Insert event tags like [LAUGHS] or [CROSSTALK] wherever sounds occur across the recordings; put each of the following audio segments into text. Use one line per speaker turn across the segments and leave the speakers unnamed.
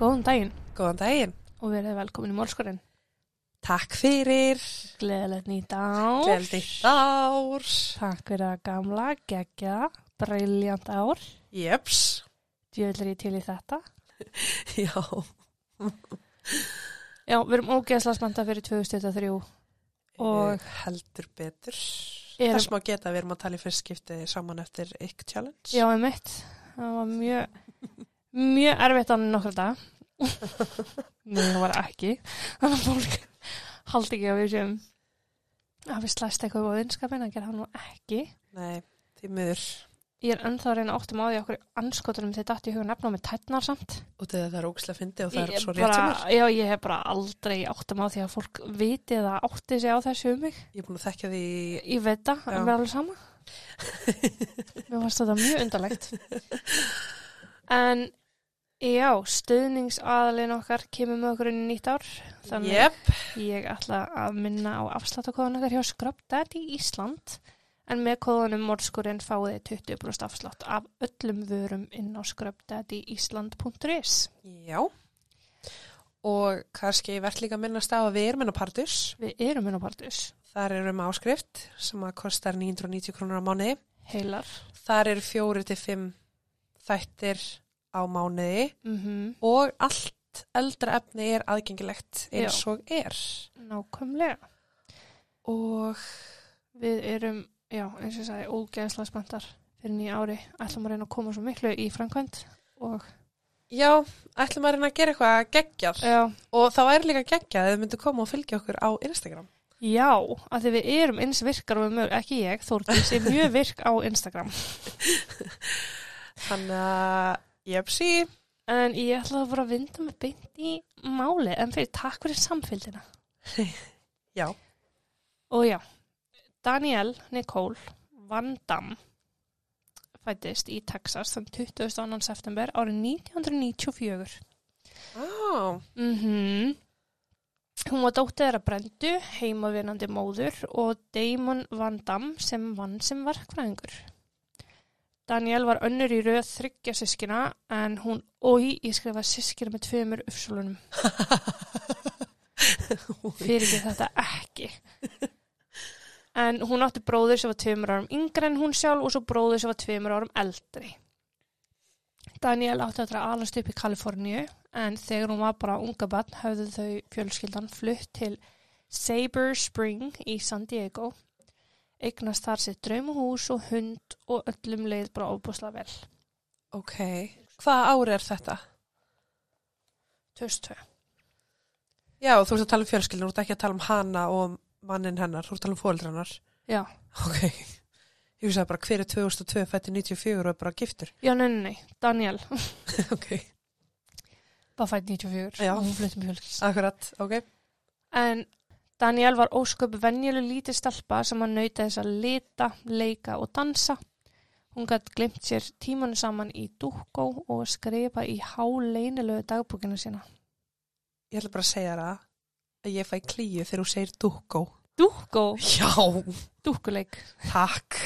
Góðan daginn
Góðan daginn.
og verið velkomin í Mórskorinn.
Takk fyrir.
Gleðilegt nýtt ár.
Gleðið þitt ár.
Takk fyrir að gamla, geggja, briljant ár.
Jeps. [LAUGHS]
Djöðlir ég til í þetta.
Já.
Já, við erum ógeðslega spennta fyrir 2023
Og
og
Eh, heldur betur.
Erum-
Þess má geta að við erum að tala í fyrst skipti saman eftir Ick Challenge.
já, ég mitt. Það var mjög, mjög erfitt annir nokkra [LAUGHS] dag. Nei, það var ekki. Þannig að fólk haldi ekki að við séum að við slæst eitthvað á vinskapin, það ger hann nú ekki.
Nei, því miður.
Ég er ennþá að reyna áttum á því okkur anskotunum þegar datt í huga nefnum með tætnar samt.
Og þegar það er ógislega fyndi og það
Ég
er svo rétt
bara,
sem er.
Já, ég hef bara aldrei áttum á því að fólk viti eða átti sig á þessu um mig.
Ég er búin að þekkja því
Ég veit það, en
Já.
mér er alveg
[LAUGHS]
sama. mér fannst þetta mjög undarlegt. En já, stöðningsaðalinn okkar kemur með okkur inn í nýtt ár. Þannig
Jep.
ég ætla að minna á afsláttakóðan okkar hjá Scrub Daddy Ísland. En með kóðanum morgskurinn fáið þið 20% afslátt af öllum vörum inn á scrubdaddyisland.is.
Já. Og kannski verðt líka að minnast á að við erum enn á Pardus.
Við erum inn á Pardus.
Þar erum við áskrift sem að kostar 990 krónur á mánuði.
Heilar.
Þar eru fjóri til fimm þættir á mánuði
Mm
og allt eldra efni er aðgengilegt eins og er.
Nákvæmlega.
Og
Við erum, já, eins og ég sagði, ógeðslega spenntar fyrir nýja ári. Ætlum að reyna að koma svo miklu í framkvæmt og,
já, ætlum að reyna að gera eitthvað geggjað
já,
og það væri líka geggjað ef þau myndu koma og fylgja okkur á Instagram.
já, að því við erum eins virkar og við mög, ekki ég, Þórdís, er mjög virk á Instagram.
Þannig að, jöpsi,
En ég ætla að bara að vinda mig beint í máli, en fyrir takk fyrir samfélgina.
já,
Og já, Daniel Nicole Van Damme fættist í Texas þann 22. september árið 1994.
á,
Mm Hún var dóttir þeirra Brendu, heimavinandi móður og Damon Van Damme sem vann sem verkfræðingur. Daniel var önnur í röð þryggja sískina en hún, oi, ég skrifa sískina með tveimur uppsólunum. Fyrir ekki þetta ekki. En hún átti bróður sem var tveimur árum yngre en hún sjálf og svo bróður sem var tveimur árum eldri. Daniel átti eftir að alast upp í Kaliforníu en þegar hún var bara unga barn höfðu þau fjölskyldan flutt til Saber Spring í San Diego eignast þar sitt draumuhús og hund og öllum leið bara ofbúslega vel
ok. Hvaða ári er þetta?
2002
Já, þú ert að tala um fjölskyldin, þú ert ekki að tala um hana og mannin hennar, þú ert að tala um fóreldra hennar.
Já,
Ok, ég hugsaði bara hver er 2002 fætti 94 og er bara giftur.
já, nei, nei, nei, Daniel
ok,
var fætt 94
Já.
og hún flutti með fjölskyldan
akkurat, ok.
En Daniel var ósköp venjuleg lítið stelpa sem hann nauta þess að lita, leika og dansa. Hún gætt glimt sér tímanu saman í dúkkó og skrifa í háleinilegu dagbúkina sína.
Ég ætla bara að segja þér það að ég fæ klíu þegar þú segir dúkó.
Dúkkó?
Já,
Dúkkuleik.
takk.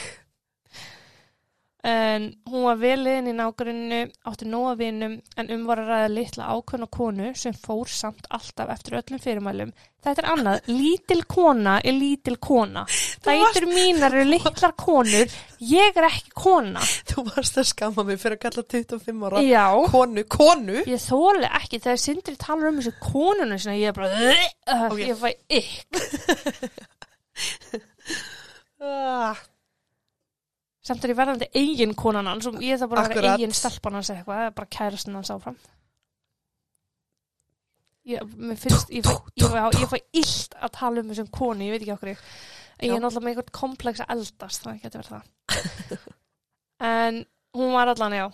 En hún var veliðin í nágruninu, átti nóga vinum, en um var að ræða litla ákveðna konu sem fór samt alltaf eftir öllum fyrirmælum. Þetta er annað, lítil kona er lítil kona. Dætur mínar eru litlar konur, ég er ekki kona.
Þú varst að skamma mig fyrir að kalla 25 ára
Já.
konu, konu.
Ég þóli ekki þegar Sindri talar um þessu konuna sinna, ég er bara uh,
Ok.
ég fæ ykk.
Ah,
Samt er ég verðandi eigin konan hans og ég þarf bara að vera
Akkurat.
eigin stelpan hans eða eitthvað, eða bara kærastin hans áfram. Ég, mér finnst, ég fæ, ég, fæ, ég fæ illt að tala um þessum konu, ég veit ekki okkur ég. En ég er
Já.
náttúrulega með einhvern komplex að eldast, þannig getur verið það. en hún var allan, já,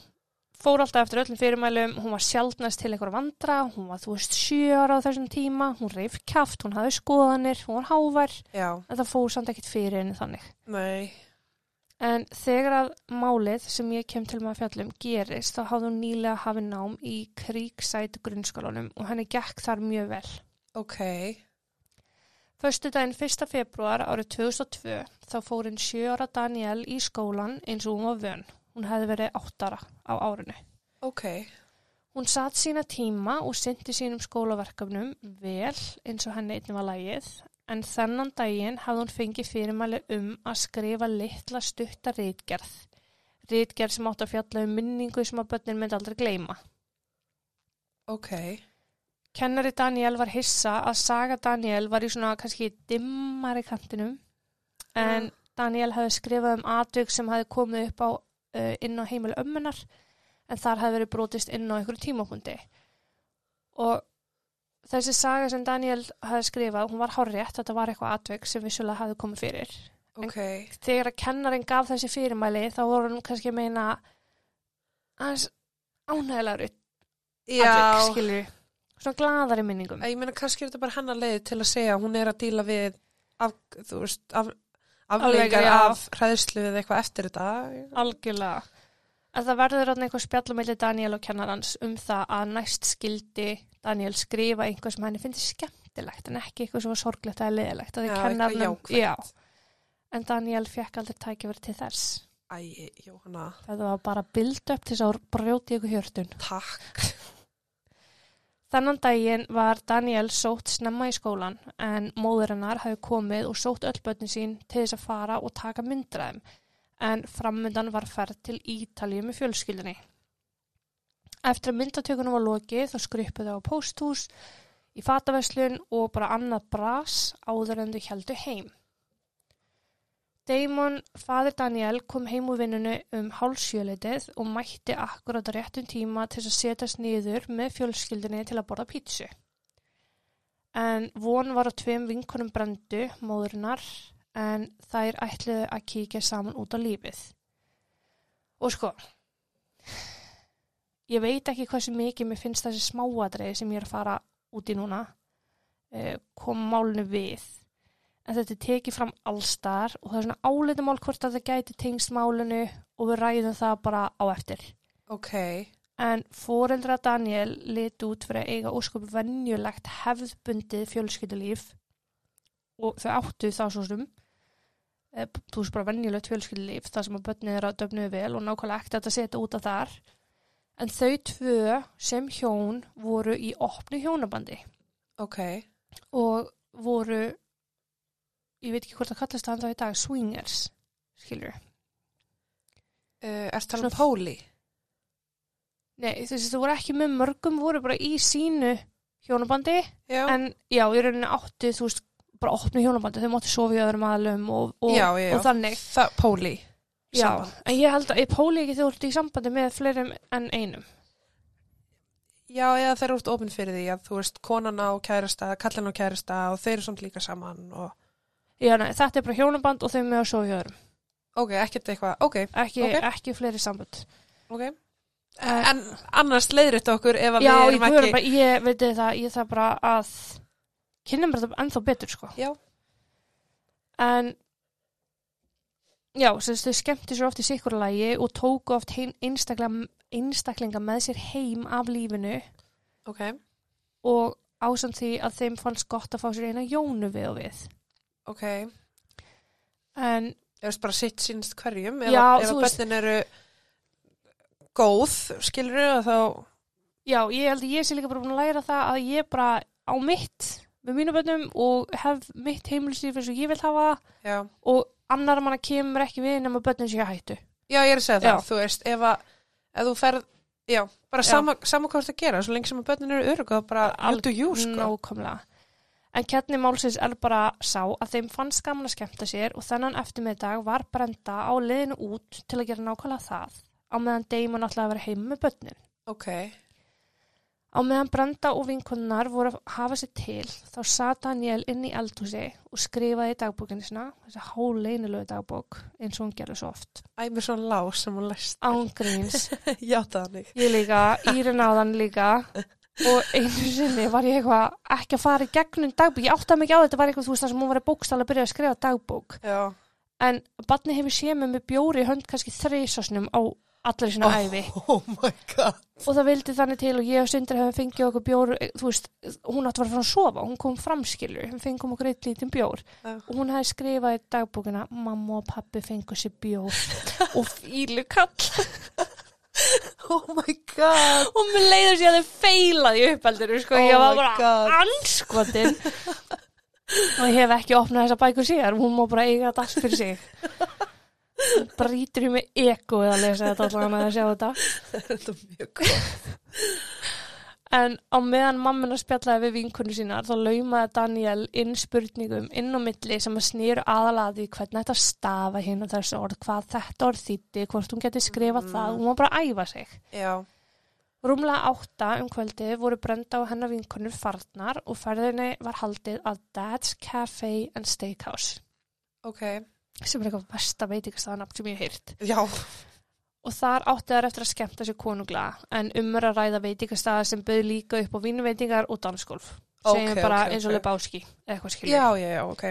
fór alltaf eftir öllum fyrirmælum, hún var sjaldnast til einhver vandra, hún var, þú veist, sjö ára á þessum tíma, hún reyf kjaft, hún hafði skoðanir, hún var hávær,
já,
en það fór samt ekkit fyrir henni þannig.
nei.
En þegar að málið sem ég kem til með að fjallum gerist, þá hafði hún nýlega hafið nám í Kríksæt grunnskólanum og henni gekk þar mjög vel.
Ok,
Föstu daginn 1. februar árið 2002 þá fór hinn 7 ára Daniel í skólan eins og hún var vön. Hún hefði verið 8 ára á árinu.
ok.
Hún satt sína tíma og synti sínum skólaverkefnum vel eins og henni einnig var lagið en þennan daginn hafði hún fengið fyrirmæli um að skrifa litla stutta rítgerð. Rítgerð sem átti að fjalla um minningu sem að börnin myndi aldrei gleyma.
Ok.
Kennari Daniel var hissa að saga Daniel var í svona kannski dimmari kantinum en Daniel hafði skrifað um atvik sem hafði komið upp á uh, inn á heimil ömmunar en þar hafði verið brotist inn á einhverju tímapunkti og þessi saga sem Daniel hafði skrifað, hún var hárétt, þetta var eitthvað atvik sem vissulega hafði komið fyrir
Ok.
þegar að kennarin gaf þessi fyrirmæli þá voru hann kannski að meina aðeins ánægilegur atvik,
Já.
skilur svona glaðari minningum
Æ, Ég meina, kannski er þetta bara hennar leið til að segja að hún er að díla við af, þú veist, af, afleikar
Afleiðingar, já.
af hræðslu eða eitthvað eftir þetta.
Algjörlega. En það verður þarna einhver spjallumilli Daniel og kennarans um það að næst skildi Daniel skrifa einhver sem henni finnst skemmtilegt en ekki eitthvað sem var sorglegt eða leðilegt.
Já, eitthvað jákvætt.
já. En Daniel fekk aldrei tækifæri til þess.
Æ, Jóhanna,
Það var bara build up til þess að brjóti ykkur hjörtun.
takk.
Þannan daginn var Daniel sótt snemma í skólan en móður hennar hafi komið og sótt öll börnin sín til þess að fara og taka myndraðum en framöndan var ferð til Ítalíu með fjölskyldinni. Eftir að myndatökunum var lokið þá skruppuðu á pósthús, í fataveslun og bara annað bras áður en þau heldu heim. Damon, fadir Daniel, kom heim úr vinnunni um hálsjöleitið og mætti akkurat á réttum tíma til að setjast niður með fjölskyldinni til að borða pítsu. En von var á tveim vinkonum brendu, móðurinnar, en þær ætluðu að kíkja saman út á lífið. Og sko, ég veit ekki hversu mikið mér finnst þessi smáadreið sem ég er að fara út í núna, eh, kom málinu við en þetta er tekið fram allstar og það er svona álitamál hvort að það gæti tengst málinu og við ræðum það bara á eftir.
Ok.
En foreldra Daniel lit út fyrir að eiga ósköp venjulegt hefðbundið fjölskyldulíf og þau áttu þá svo sem eh, þú veist bara venjulegt fjölskyldulíf þar sem að börnið er að döfnuðu vel og nákvæmlega ekkert að setja út af þar. En þau tvö sem hjón voru í opnu hjónabandi
Ok.
og voru ég veit ekki hvort það kallast það ennþá í dag swingers, skilur
Uh, er það um
Svona-
Póli?
nei, þessi þú voru ekki með mörgum voru bara í sínu hjónabandi
Já.
en já, í rauninni áttu þú veist, bara opnu hjónabandi, þau máttu sofa í öðrum aðlum og, og,
já, já, já.
og þannig
Það, Póli.
já,
Samband.
en ég held að ég póli ekki þú ert í sambandi með fleirum en einum
Já, eða þeir eru út opinn fyrir því að þú veist, konan á kærasta, kallan á kærasta og þeir eru samt líka saman og,
já, nei, þetta er bara hjónaband og þau með að sofa í öðrum
ok, ekkert eitthvað, ok,
ekki,
Ok.
ekki fleiri samband
ok.
uh,
En annars leiðrétt okkur ef að
já,
við
ég,
erum
ekki...
ekki...
bara, ég veit þið það, ég þarf bara að kynna mér þetta ennþá betur sko
Já.
en já, sem sagt, þau skemmtu sér oft í sikkur lagi og tóku oft heim, einstaklega, einstaklinga með sér heim af lífinu
Ok,
og ásamt því að þeim fannst gott að fá sér eina jónu við og við
ok.
en
Ég veist bara sitt sínst hverjum. Ef,
Já,
að- ef
þú
að
veist-
börnin eru góð, skilur þau, þá...
já, ég held að ég sé líka bara búin að læra það að ég bara á mitt með mínu bönnum og hef mitt heimilislíf eins og ég vil hafa það
Já.
og annar manna kemur ekki við nema bönnum sér hættu
já, ég er að segja það,
Já.
þú veist, ef að ef þú ferð, já, bara
Já.
sama, sama hvað þú ert að gera, svo lengi sem að börnin eru örug og bara
Al-
aldu jú, sko.
Nákvæmlega. En kjarni málsins er bara sá að þeim fannst gaman að skemmta sér og þennan eftirmiðdag var Brenda á leiðinu út til að gera nákvæmlega það á meðan Damon ætlaði að vera heim með börnin.
Ok,
Á meðan Brenda og vinkonnar voru að hafa sér til þá sat Daniel inn í eldhúsi og skrifaði í dagbókinu sinna, þessi háleinilegu dagbók eins og hún gerði svo oft.
æmið svona lás sem hún [LAUGHS] læst.
Ángríns,
Já, það er neitt.
ég líka, Írin áðan líka og einu sinni var ég eitthvað ekki að fara í gegnum dagbók ég átti að mikið á þetta var eitthvað þú veist það sem hún var í bókstala að byrja að skrifa dagbók
Já.
en barni hefur séð mig með bjóri í hönd kannski þreysasnum á allri sinna æfi
Oh my god.
og það vildi þannig til og ég og Sindri hefum fengið okkur bjór eh, þú veist, hún átti að fara að sofa hún kom framskilur, við fengum okkur eitt lítinn bjór
Já.
og hún hefði skrifað í dagbókina [LAUGHS] mamma og pappi fengu sér bjór og fílu kall
oh my god
og mér leiður sér að þau feilaði uppaldur sko.
Oh
ég var
my
bara
God.
anskotin og ég hef ekki opnað þessa bækur síðar hún má bara eiga þetta allt fyrir sig Hún brýtur í mig ego að lesa þetta allan að sjá þetta
[LAUGHS] þetta er mjög gott
en á meðan mammina spjallaði við vinkunni sínar þá laumaði Daniel inn spurningum inn á milli sem að snýru aðalaði hvernig þetta stafa hinn og þessu orð hvað þetta orð þýtti, hvort hún geti skrifað það hún má bara að æfa sig
já,
Rúmlega átta um kvöldið voru brenda og hennar vinkonur farnar og ferðinni var haldið að Dad's Cafe and Steakhouse
ok
sem er eitthvað besta veitingastæðanafn sem ég hef heyrt.
já,
Og þar átti þær eftir að skemmta sér konungla en umur að ræða veitingastæða sem bauð líka upp á vínveitingar og dansgolf. Segjum
Ok,
bara
ok,
eins og
ok.
Lebowski eða eitthvað skilur.
já, já, já, ok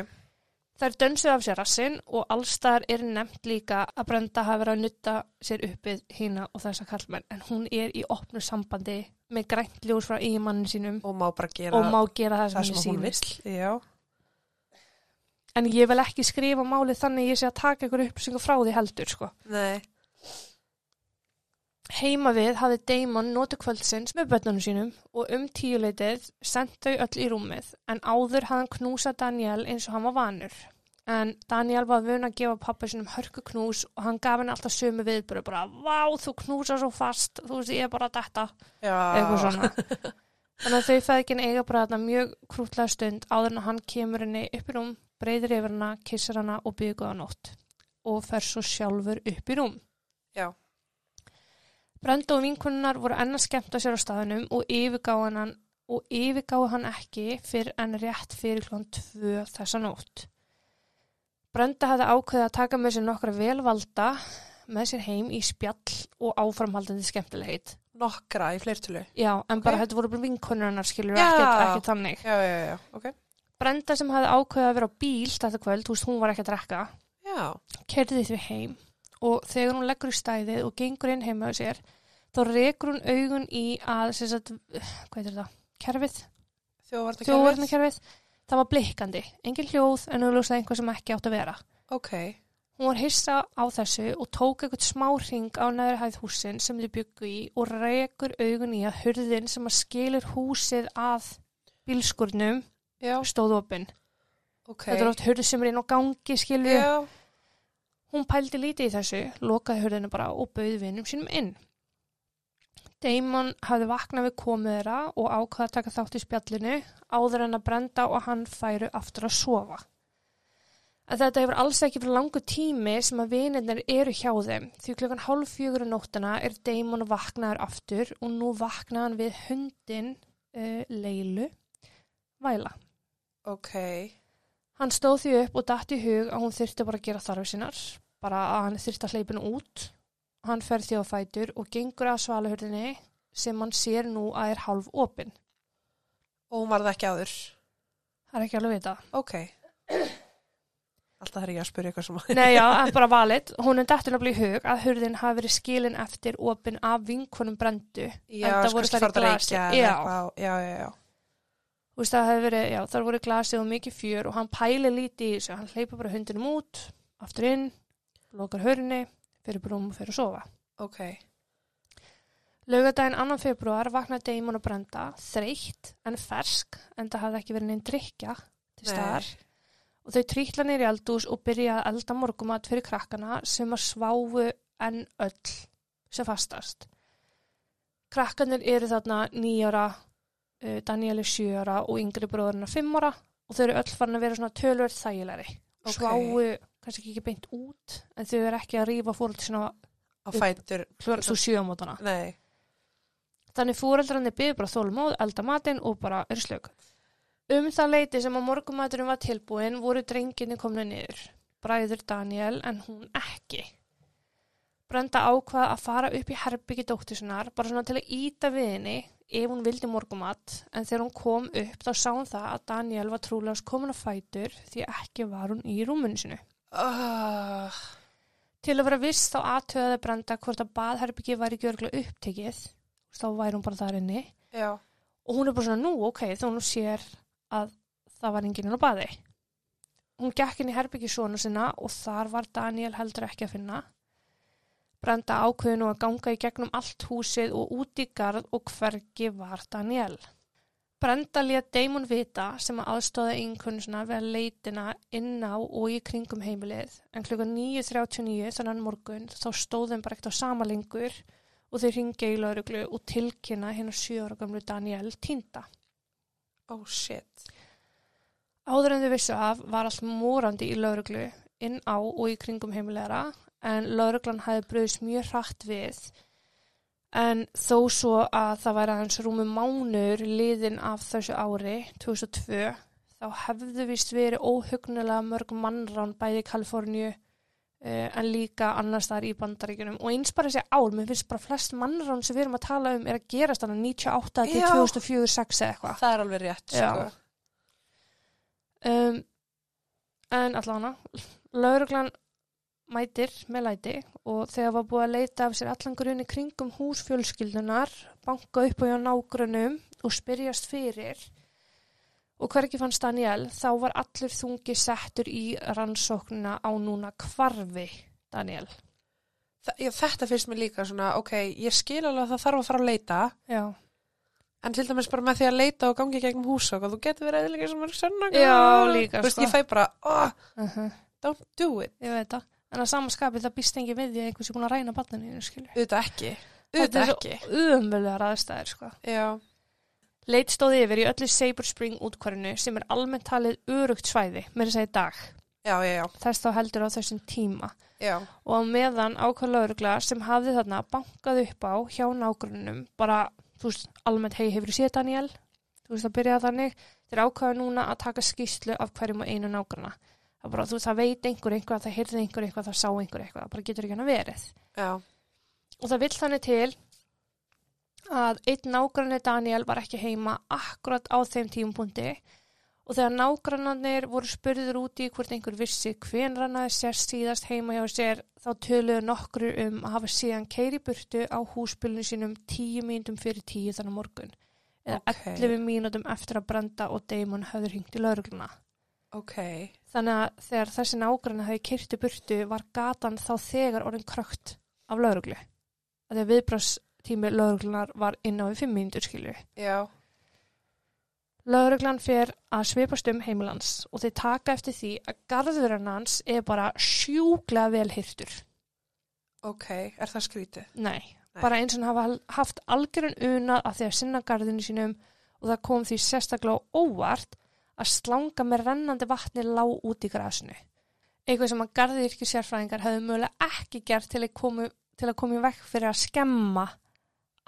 Þær dönsuð af sér rassinn og allstaðar er nefnt líka að Brenda hafi verið að nutta sér uppið hína og þessa kallmenn en hún er í opnu sambandi með grænt ljós frá eigimannin sínum
og má bara gera
og má gera það
það
sem,
sem hún
ég sýnist.
vill já,
En ég vil ekki skrifa málið þannig að ég sé að taka ykkur upplýsingar frá því heldur, sko.
nei,
Heima við hafði Damon notu kvöldsins með börnunum sínum og um tíuleitið sendt þau öll í rúmið en áður hafði hann knúsað Daniel eins og hann var vanur. En Daniel var vun að gefa pappa sínum hörku knús og hann gaf henni alltaf sömu viðbyrðu bara Vá, þú knúsar svo fast, þú veist ég er bara að detta.
já
eitthvað svona þannig að þau feðgin eiga bara þarna mjög krútlega stund áður en hann kemur henni upp í rúm breyðir yfir hana, kissar hana og byggir góða nótt og fer svo sjálfur upp í rúm
Já.
Brenda og vinkunnar voru enn að skemmta sér á staðunum og yfirgáðu hann og yfirgáðu hann ekki fyrr en rétt fyrir klón tvö þessa nótt Brenda hefði ákveðið að taka með sér nokkra velvalda með sér heim í spjall og áframhaldandi skemmtilegheit
nokkra í fleirtölu
Já, en bara
Ok.
þetta voru bara vinkonur hennar skilur
Já.
ekkert, ekkert þannig.
já, já, já, ok
Brenda sem hafði ákveðið að vera á bíl þetta kvöld, þú veist, hún var ekki að drekka,
já,
kerði því heim og þegar hún leggur í stæðið og gengur inn heima á sér, þá rekur hún augun í að, sem sagt, hvað er þetta, kerfið,
þjóðvarnakerfið
þjóðvarnakerfið, það var blikkandi, engin hljóð en auðvitað einhver sem ekki átt að vera.
ok,
Hún var hissa á þessu og tók eitthvað smá ring á neðri hæð húsin sem þau byggu í og rekur augun í að hurðin sem að skilur húsið að bílskurnum
já,
stóð opinn.
ok
Þetta er oft hurð sem er inn á gangi skilur.
já,
Hún pældi lítið í þessu, lokaði hurðinu bara og bauði vinum sínum inn. Damon hafði vaknað við komið þeirra og ákvaða að taka þátt í spjallinu áður en að brenda og hann færu aftur að sofa. En þetta hefur alls ekki fyrir langu tími sem að vinirnir eru hjá þeim því klukkan hálf fjögur um nóttina er Damon vaknaður aftur og nú vaknaði hann við hundin uh, Leilu Væla.
ok
Hann stóð því upp og datt í hug að hún þyrfti bara að gera þarfi sinnar, bara að hann þyrfti að hleypina út. Hann fer því á fætur og gengur að svalahurðinni sem hann sér nú að er hálf opin.
og hún var það ekki áður
Það er ekki alveg vita.
ok alltaf þarf ég að spyrja eitthvað sem
[LAUGHS] Nei, já, en bara valið. Hún er dættin að bli í hug að hurðin hafi verið skilin eftir opin af vinkonum brendu.
já,
Enda voru
skulu
þær í
fara að reykja
glasi.
eða
Já.
eitthvað, já, já, já,
Þú veist, það hefur verið, já, þar voru glasið og mikið fjör og hann pæli lítið í þessu. Hann hleypur bara hundinum út, aftur inn, lokar hurðinni, fyrir brúm og fyrir að sofa.
ok
Laugardaginn 2. februar vaknaði Damon og Brenda þreytt en fersk en það hafði ekki verið neinn drikja til
Nei.
staðar og þau trýtla nýr í eldús og byrjaði að elda morgumat fyrir krakkana sem að sváfu en öll sem fastast. Krakkanir eru þarna nýjara, Daniel er sjöjara og yngri bróðurinn er fimmara og þau eru öll farin að vera svona tölverð þægilegri.
Ok.
Sváfu kannski ekki beint út en þau eru ekki að rífa fórhaldi svona
á fætur,
kljóðan svo sjöamótana.
nei
Þannig fóreldrarnir byggðu bara þólmóð, elda matinn og bara eru slög. Um það leiti sem að morgumaturinn var tilbúin voru drenginni komna niður. Bræður Daniel en hún ekki. Brenda ákvað að fara upp í herbyggi dóttisunnar bara svona til að íta við henni ef hún vildi morgumat en þegar hún kom upp þá sá hún það að Daniel var trúlega komin á fætur því ekki var hún í rúmunu sinu.
oh,
Til að vera viss þá aðtöðaði Brenda hvort að baðherbyggi var ekki örgulega upptekið þá væri hún bara þar inni
já,
og hún er bara svona nú, ok, þá hún sér að það var enginn inn á baði. Hún gekk inn í herbyggi svona sinna og þar var Daniel heldur ekki að finna. Brenda ákveði nú að ganga í gegnum allt húsið og út í garð og hvergi var Daniel. Brenda lét Damon vita sem að aðstóða einhverjum við að leitina inn á og í kringum heimilið en klukkan 9.39 þannan morgun þá stóðum bara ekkert á sama lengur og þau ringja í lauruglu og tilkynna hennar 7 ára gamlu Daniel týnda.
Oh shit.
Áður en þau vissu af var allt morandi í lauruglu inn á og í kringum heimilegra en lauruglan hafði bröðist mjög hratt við en þó svo að það væri aðeins rúmu mánur liðin af þessu ári 2002 þá hefðu vist verið óhugnulega mörg mannrán bæði í Kaliforníu uh, en líka annars þar í bandaríkjunum og eins bara þessi ár, mér finnst bara flest mannrán sem við erum að tala um er að gerast þannig 98 til
Já.
2004-06 eða eitthvað
Það er alveg rétt,
Já.
sko.
um, en allana lauruglan mætir með læti og þegar var búið að leita af sér allan grunni kringum húsfjölskyldunar banka upp á hjá nágrunum og spyrjast fyrir og hvergi fannst Daniel þá var allur þungi settur í rannsóknina á núna kvarfi Daniel
Þa, já, þetta finnst mér líka svona, ok, ég skil alveg að það þarf að fara að leita,
já,
en til dæmis bara með því að leita og gangi gegnum húsök og þú getur verið eða líka sem er sönna.
Já, líka,
Þú veist,
sko.
ég fæ bara, oh,
uh
don't do it.
ég veit það en að samaskapið það býst engi við því að einhvers er búin að ræna barninu skilju
Auðvitað ekki.
Þetta er
Auðvitað
svo-
ekki.
umvöldar aðstæðir sko
Já,
Leit stóði yfir í öllu Sabre Spring útkvarinu sem er almennt talið örugt svæði, mér að segja í dag.
já, já, já.
Þess þá heldur á þessum tíma.
já.
Og á meðan ákvæða laurugla sem hafði þarna bankað upp á hjá nágrunum, bara, þú veist, almennt hei hefur séð Daniel, þú veist, það byrjaði þannig, þeir ákvæða núna að taka skýslu af hverjum og einu nágruna. Það bara, þú veist, það veit einhver eitthvað, það heyrði einhver eitthvað, það sá einhver eitthvað, það bara getur ekki hann að verið.
Já,
Og það vill þannig til að einn nágranni Daniel var ekki heima akkurat á þeim tímupunkti og þegar nágrannarnir voru spurður út í hvort einhver vissi hvenær hann hafði sérst síðast heima hjá sér þá töluðu nokkru um að hafa síðan keiri burtu á húsbylunum sínum tíu mínútum fyrir tíu þannig morgun eða
Ok.
11 mínútum eftir að Brenda og Damon höfður hringt í laurugluna.
ok.
Þannig að þegar þessi nágrann hafi kyrti burtu var gatan þá þegar orðin krökt af lauruglu. Af því að viðbrástími lauruglunar var inn á við fimm mínútur skilju.
Já,
Lauruglan fer að svipast um heimilans og þeir taka eftir því að garðurinn hans er bara sjúklega vel hirtur.
ok. Er það skrítið?
Nei,
Nei.
bara eins og hann hafa haft algjörun unað að því að sinna garðinu sínum og það kom því sérstaklega á óvart að slanga með rennandi vatni lág út í grasinu. Eitthvað sem að garðirkju sérfræðingar hefðu mögulega ekki gert til að komi, til að komi vekk fyrir að skemma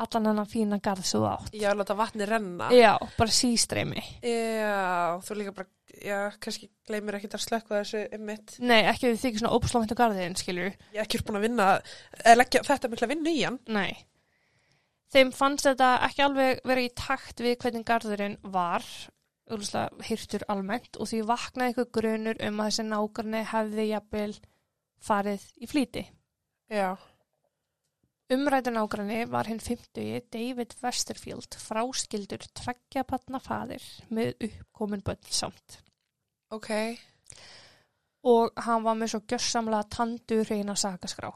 allan hennar fína garð svo átt.
Já, láta vatni renna.
Já, bara sístreimi.
Já, þú líka bara, já, kannski gleymir ekki að slökka þessu um mitt.
Nei, ekki ef þið þykir svona ópslófæntu garðin, skilur
Ég er ekki búin að vinna, eða leggja þetta mikla vinnu í hann.
Nei. Þeim fannst þetta ekki alveg verið í takt við hvernig garðurinn var, auðvitað hirtur almennt og því vaknaði einhver grunur um að þessi nákarni hefði jafnvel farið í flýti.
Já,
Umrætun nágranni var hinn 50 David Westerfield fráskildur tveggjabatna faðir með uppkomin börn samt.
ok.
og hann var með svo gjörsamlega tandur reyna sakaskrá.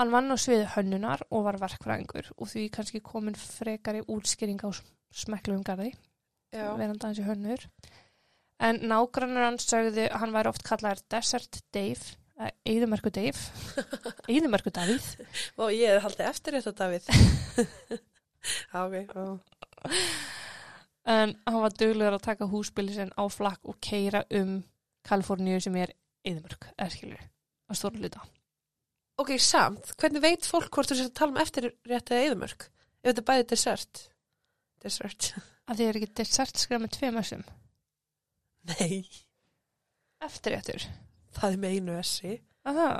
Hann vann á sviði hönnunar og var verkfræðingur og því kannski komin frekari útskýring á smeklu um garði,
[LAUGHS] Já,
verandi hans í hönnur. En nágrannur hans sögðu að hann væri oft kallaðar Desert Dave, eðumerku Dave, eðumerku Davíð.
og ég hefði haldið eftir þetta, Davíð. [LAUGHS] Já, ok. já.
En hann var duglegur að taka húsbili sinn á flakk og keira um Kaliforníu sem er eðumörk, eða skilur, að stóra hluta.
Ok, samt, hvernig veit fólk hvort þú sér að tala um eftirrétt eða eðumörk? Ef þetta er bæði dessert. Dessert. [LAUGHS]
Af því er ekki dessert skrað með tveim össum.
Nei,
Eftirréttur.
það er með einu essi.
Aha.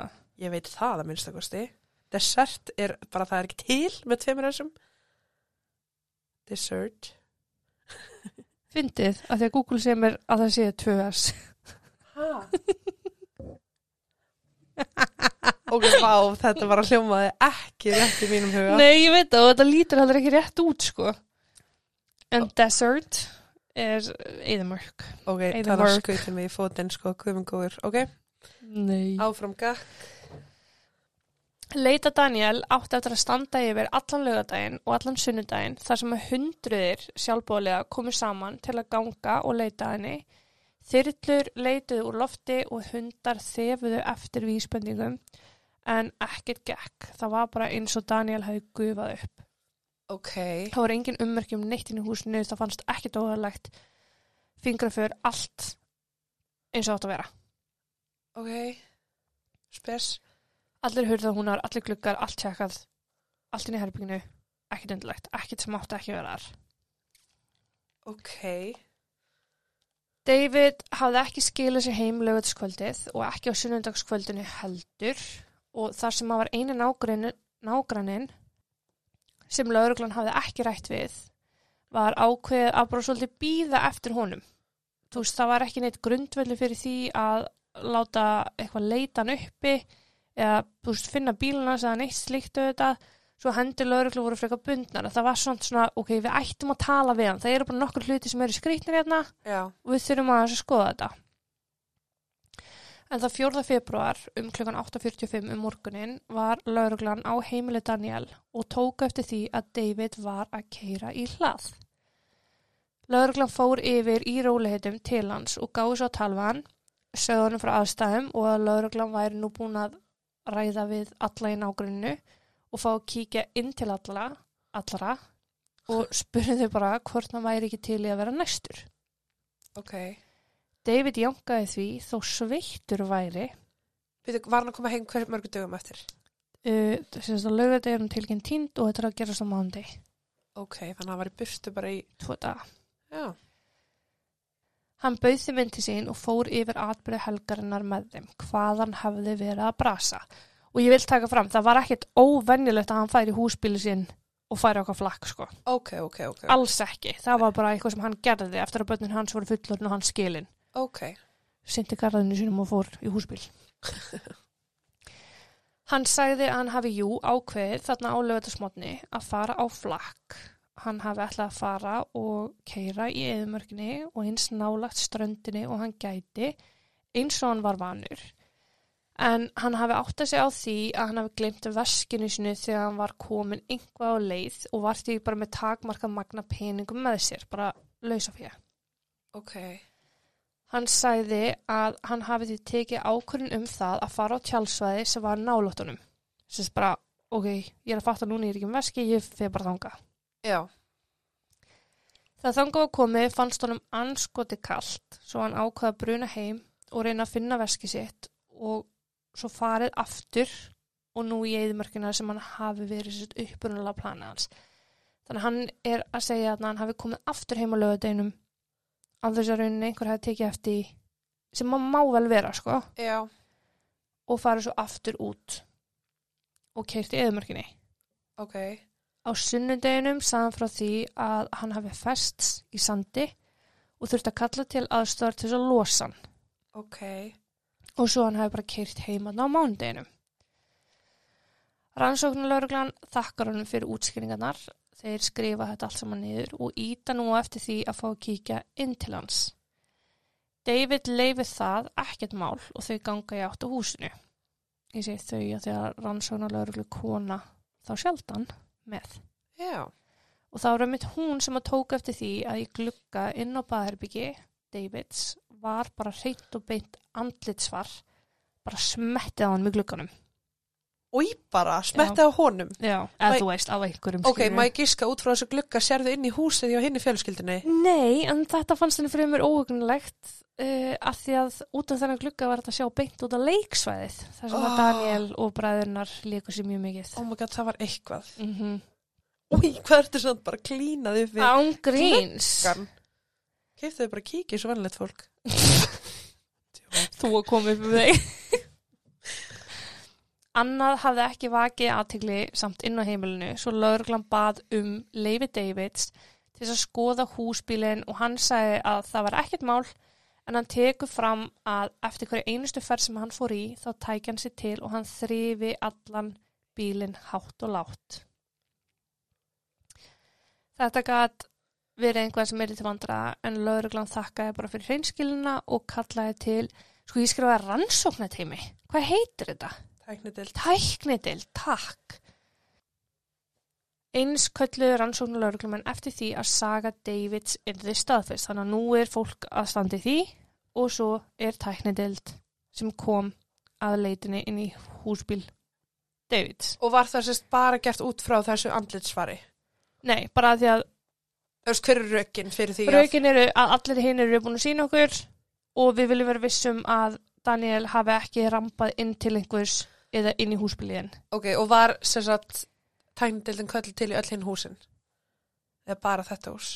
Ég veit það að minnstakosti. Dessert er bara það er ekki til með tveimur þessum. Dessert.
Fyndið, af því að Google segir mér að það séu 2S.
Ha? [LAUGHS] ok, vá, þetta var að hljómaði ekki rétt í mínum huga.
Nei, ég veit það og þetta lítur heldur ekki rétt út, sko. En desert er eðamörk.
Ok,
Eyðimörk.
það var skautum í fótinn, sko, guðmengóður. Ok,
Nei.
áfram gakk.
Leita Daniel átti eftir að standa yfir allan lögadaginn og allan sunnudaginn þar sem að hundruðir sjálfbóðlega komu saman til að ganga og leita að henni. Þyrlur leituðu úr lofti og hundar þefuðu eftir vísbendingum en ekkert gekk. Það var bara eins og Daniel hafi gufað upp.
Ok.
Það voru engin ummerki um neitt inn í húsinu, það fannst ekkert óhæðlegt, fingraför, allt eins og átt að vera.
Ok. Spes.
Allir hurðahúnar, allir gluggar, allt tjekkað, allt inn í herbygginu, ekkert undirlegt, ekkert sem átti ekki að vera þar.
Ok.
David hafði ekki skilað sér heim lögutskvöldið og ekki á sunnundagskvöldinu heldur og þar sem hann var eini nágrinn- nágranninn sem lögreglan hafði ekki rætt við var ákveðið að bara svolítið býða eftir honum. Þú veist, það var ekki neitt grundvelli fyrir því að láta eitthvað leita hann uppi eða þú veist, finna bíluna eða neitt slíkt auðvitað svo hendur lögreglu voru frekar bundnar það var svona svona, ok, við ættum að tala við hann það eru bara nokkur hluti sem eru skrýtnir hérna
Já.
og við þurfum aðeins að skoða þetta. En það 4. februar um klukkan 8.45 um morgunin var lauruglan á heimili Daniel og tók eftir því að David var að keira í hlað. Lauruglan fór yfir í rólihitum til hans og gáði svo að tala við hann, sögðu hann frá aðstæðum og að lauruglan væri nú búin að ræða við alla í nágrunnu og fá að kíkja inn til alla, allra og spurði þau bara hvort hann væri ekki til í að vera næstur.
Ok.
David jánkaði því þó sveittur væri
Við var hann að koma heim hver mörgu dögum eftir?
uh, þess að laugardeginum tilkinn tínd og þetta er að gerast á mándi
Ok, þannig að hann var í burtu bara í...
tvo daga.
Já.
Hann bauð þeim inn til sín og fór yfir atbyrðu helgarinnar með þeim hvaðan hafði verið að brasa og ég vil taka fram, það var ekkert óvenjulegt að hann færi í húsbíli sinn og færi okkar flakk sko,
Ok, ok, ok.
alls ekki það var bara eitthvað sem hann gerði eftir að börnin hans voru fullorinn og hann skilin
ok.
syndi garðinu sínum og fór í húsbíl. [LAUGHS] hann sagði að hann hafi jú ákveðið þarna á lögatarsmotni að fara á flakk. Hann hafi ætlað að fara og keira í eðumörginni og eins nálagt ströndinni og hann gæti eins og hann var vanur. En hann hafi átt að segja á því að hann hafi glemt veskinu sinu þegar hann var komin yngvað á leið og var því bara með takmarka magna peningum með sér, bara lausa fyrir.
Ok.
Hann sagði að hann hafi því tekið ákvörðin um það að fara á tjálsvæði sem var nálóttunum. Sess bara, ok, ég er að fatta núna, ég er ekki um veski, ég fer bara þangað.
Já.
Það þangað var komið fannst honum anskoti kalt, svo hann ákvaða að bruna heim og reyna að finna veski sitt og svo farið aftur og nú í eðumörkina sem hann hafi verið sitt upprunalega planið hans. Þannig að hann er að segja að hann hafi komið aftur heim á lögadeinum að þess að rauninni einhver hafi tekið eftir í- sem maður má vel vera, sko.
Já.
og farið svo aftur út og keirti eðumörkinni.
Ok.
Á sunnudeginum sagðan frá því að hann hafi fest í sandi og þurfti að kalla til aðstöðar til þess að losa hann
Ok.
og svo hann hafi bara keirt heimann á mánudeginum. Rannsóknarlauruglan þakkar honum fyrir útskýringarnar, þeir skrifa þetta allt saman niður og íta nú eftir því að fá að kíkja inn til hans. David leifir það ekkert mál og þau ganga í átt á húsinu. Ég segi þau að þegar rannsóknarlauruglu kona þá sjaldan með.
Já.
Og það var einmitt hún sem að tók eftir því að í glugga inn á baðherbyggi Davids var bara hreitt og beint andlitsvar bara smettið á hann með glugganum.
Og í bara, smettaði á honum.
Já. Eða
Mæ-
þú veist, á einhverjum
Ok,
skilurðu.
maður giska út frá þessu glugga sérðu inn í húsið hjá hinni fjölskyldinni.
Nei, en þetta fannst henni fyrir mér óhugnilegt uh, að því að út af þennan glugga var þetta að sjá beint út á leiksvæðið þar sem
Oh.
að Daniel og bræðurnar líku sér mjög mikið.
Oh my god, það var eitthvað.
Mm -hmm.
Úi, hvað ertu svona bara klínað upp við
Án gríns.
gluggan? Keiftu þau bara kíkið svo vennilegt fólk.
Þú að koma upp um þig. [LAUGHS] Annað hafði ekki vakið aðtegli samt inn á heimilinu svo lauruglan bað um Leifi Davids til þess að skoða húsbílinn og hann sagði að það var ekkert mál en hann tekur fram að eftir hverju einustu ferð sem hann fór í þá tækja hann sér til og hann þrifi allan bílinn hátt og látt. Þetta gat verið einhver sem er til vandra en lauruglan þakkaði bara fyrir hreinskilina og kallaði til sko ég skrifaði rannsóknateimi, hvað heitir þetta?
tæknidild.
Tæknidil, takk. Eins kölluðu rannsóknar lauruglumenn eftir því að saga Davids yrði staðfest. Þannig að nú er fólk að standi því og svo er tæknidild sem kom að leitinni inn í húsbíl Davids.
Og var það sérst bara gert út frá þessu andlitsvari?
Nei, bara af því að
Þú veist, hver er rökin fyrir því
raukin eru að allir hinn eru búin að sína okkur og við viljum vera vissum að Daniel hafi ekki rampað inn til einhvers eða inn í húsbíliðin.
að... Ok, og var sérst tæknidildin köllu til í öll hinn húsin? Eða bara þetta hús?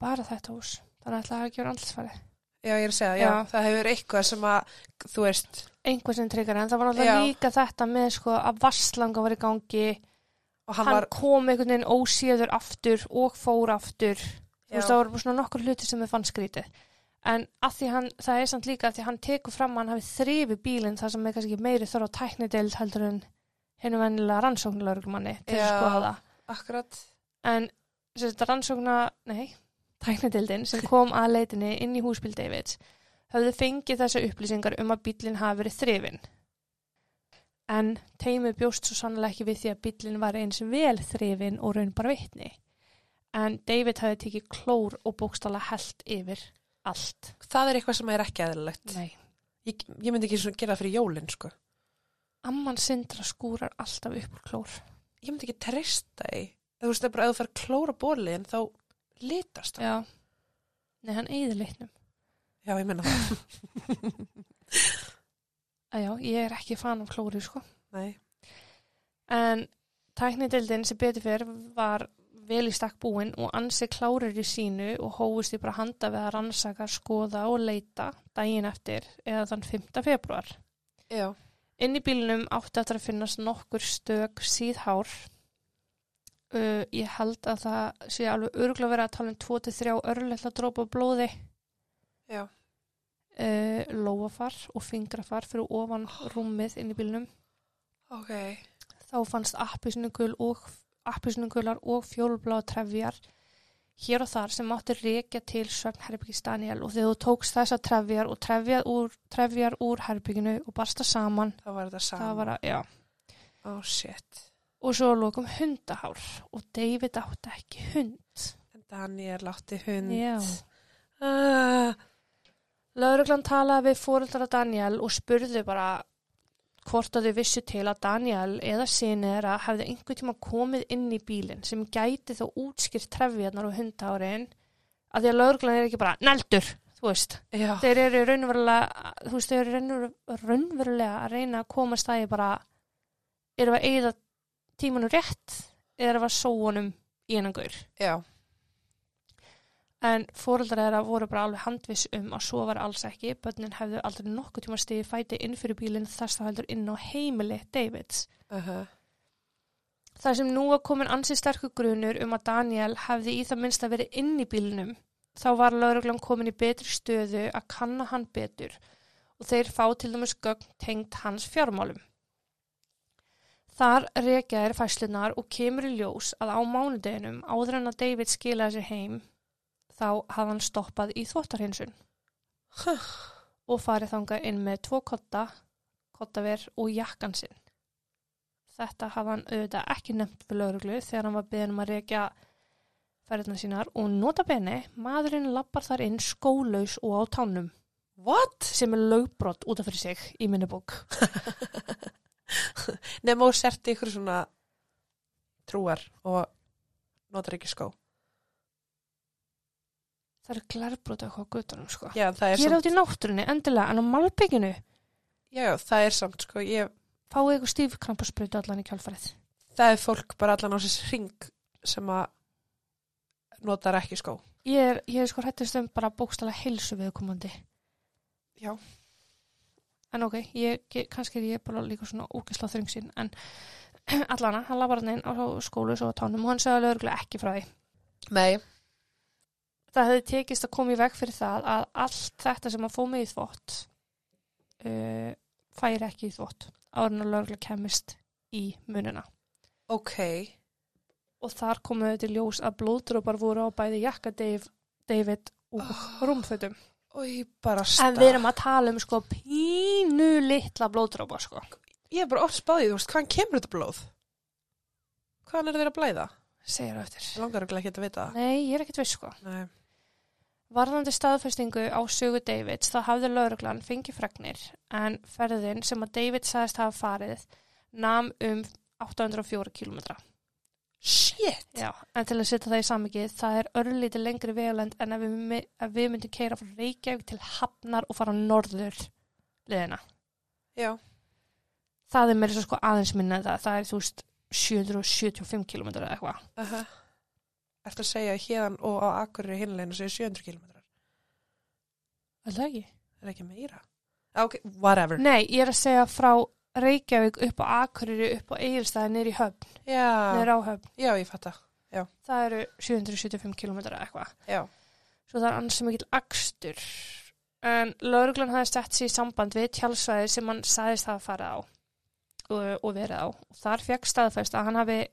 Bara þetta hús. Þannig að það hafi ekki verið andlisfæri.
Já, ég er að segja, já,
Já.
það hefur eitthvað sem að, þú veist,
einhver sem tryggar en það var náttúrulega
Já.
líka þetta með sko að vasslanga var í gangi
og
hann,
hann var,
kom einhvern veginn ósíður aftur og fór aftur þú veist
já,
það voru bara svona nokkur hluti sem við fann skrítið en að því hann, það er samt líka að því hann tekur fram að hann hafi þrifi bílinn þar sem er kannski meiri þörf á tæknideild heldur en hennu vennilega rannsóknulörgumanni til að
Já.
skoða það
akkurat,
en sem sagt, rannsókna, nei, tæknadildin sem kom að leitinni inn í húsbíl Davids höfðu fengið þessa upplýsingar um að bílinn hafi verið þrifinn. En teimið bjóst svo sannlega ekki við því að bílinn var eins vel þrifinn og raun bara vitni. En David hafði tekið klór og bókstala held yfir allt.
það er eitthvað sem er ekki eðlilegt.
Nei.
Ég, ég myndi ekki svona gera það fyrir jólin, sko.
Amman sindra skúrar alltaf upp úr klór.
Ég myndi ekki treysta því. Þú veist, það er bara, ef þú fer að klóra bólin, þá litast það.
Já. Nei, hann eigði litnum.
Já, ég menna það.
Að já, ég er ekki fan af klóri, sko.
Nei.
En tæknidildin sem betur fyrr var vel í stakk búin og ansi klárir í sínu og hófust í bara handa við að rannsaka, skoða og leita daginn eftir eða þann 5. februar.
Já.
Inn í bílnum átti eftir að finnast nokkur stök síðhár. Uh, ég held að það sé alveg örgulega verið að tala um 2-3 örlutla drópa af blóði.
Já.
Uh, lóafar og fingrafar fyrir ofan rúmið inn í bílnum.
Ok.
Þá fannst appisnugul og appisnugular og fjólblá trefjar hér og þar sem mátti rekja til svefnherbyggis Daniel og þegar þú tókst þessa trefjar og trefjar úr, trefjar úr herbygginu og barsta saman,
Það var þetta saman.
það var að, já.
Oh, shit.
Og svo að lokum hundahár og David átti ekki hund.
En Daniel átti hund.
Já.
Ah,
Lauruglan talaði við fóreldra Daniel og spurði bara hvort að þau vissu til að Daniel eða sinir að hefði einhver tíma komið inn í bílinn sem gæti þá útskýrt trefjarnar og hundárin að því að lauruglan er ekki bara neldur, þú veist.
já.
Þeir eru raunverulega, þú veist, þeir eru raunver- raunverulega að reyna að komast það í bara erum við að eigða tímanum rétt eða erum við að sóa honum í hennan gaur.
Já.
En fóreldrar þeirra voru bara alveg handviss um að svo var alls ekki. Bönnin hefðu aldrei nokkuð tíma stegið fæti inn fyrir bílinn þess það heldur inn á heimili Davids.
Uh -huh.
Þar sem nú var komin ansi sterkur grunur um að Daniel hefði í það minnst að verið inn í bílinnum, þá var lauruglan komin í betri stöðu að kanna hann betur og þeir fá til dæmis gögn tengt hans fjármálum. Þar rekja þeir fæslunar og kemur í ljós að á mánudeginum áður en að David skilaði sér heim þá hafði hann stoppað í þvóttarhinsun og farið þangað inn með tvo kotta, kottaver og jakkan sinn. Þetta hafði hann auðvitað ekki nefnt fyrir lauruglu þegar hann var beðin um að rekja ferðina sínar og nota bene, maðurinn lappar þar inn skólaus og á tánum
What?
sem er lögbrott út af fyrir sig í minni bók.
Nefn og sért ykkur svona trúar og notar ekki skó.
Það er glerbrot eitthvað á gutunum sko.
Já, það er
Ég er
samt,
átt í náttúrunni endilega en á malbygginu
já, já, það er samt, sko, ég,
fáið eitthvað stífkrampasprautu allan í kjálfarið.
það er fólk bara allan á sér hring sem að notar ekki skó.
Ég er, ég er sko hrættist um bara bókstala heilsu viðkomandi.
Já.
En ok, ég, ég, kannski er ég bara líka svona ógisla þröngsinn, en [CLEARS THROAT] allana, hann labar hann inn á skólu svo á tánum og hann sagði lögreglega ekki frá því.
Nei.
Það hefði tekist að koma í veg fyrir það að allt þetta sem hann fóð með í þvott uh, færi ekki í þvott árun að lögreglega kemist í mununa.
Ok,
Og þar komuðu til ljós að blóðdrópar voru á bæði jakka Dave, David og
Oh.
rúmfötum.
og ég bara
En við erum að tala um sko pínu litla blóðdrópa sko.
ég er bara oft spáðið, þú veist, hvaðan kemur þetta blóð? Hvaðan er þeir að blæða?
segir á
Ég
eftir.
langar ekki að vita það.
Nei, ég er ekkert viss sko.
Nei.
Varðandi staðfestingu á sögu Davids þá hafði lauruglan fengið fregnir en ferðin sem að David sagðist hafa farið nam um 804 km.
Shit!
Já, en til að setja það í samvikið, það er örlítið lengri vegalend en ef við, mi- ef við myndum keira frá Reykjavík til Hafnar og fara norður liðina.
Já,
Það er meira svo sko aðeins minna en það, það er þú veist 775 km eða eitthvað.
uh Ertu að segja að héðan og á Akureyri hinleginu séu 700 km?
Er það ekki?
Er ekki meira? Ah, Ok, whatever.
Nei, ég er að segja frá Reykjavík upp á Akureyri, upp á Egilstaði, niður í höfn,
Já,
niður á höfn.
já, ég fatt það.
Það eru 775 km eða eitthvað.
Já,
svo það er ansi mikill akstur en lauruglan hafði sett sér í samband við tjálsvæði sem hann sagðist hafa farið á og, og verið á og þar fekk staðfest að hann hafi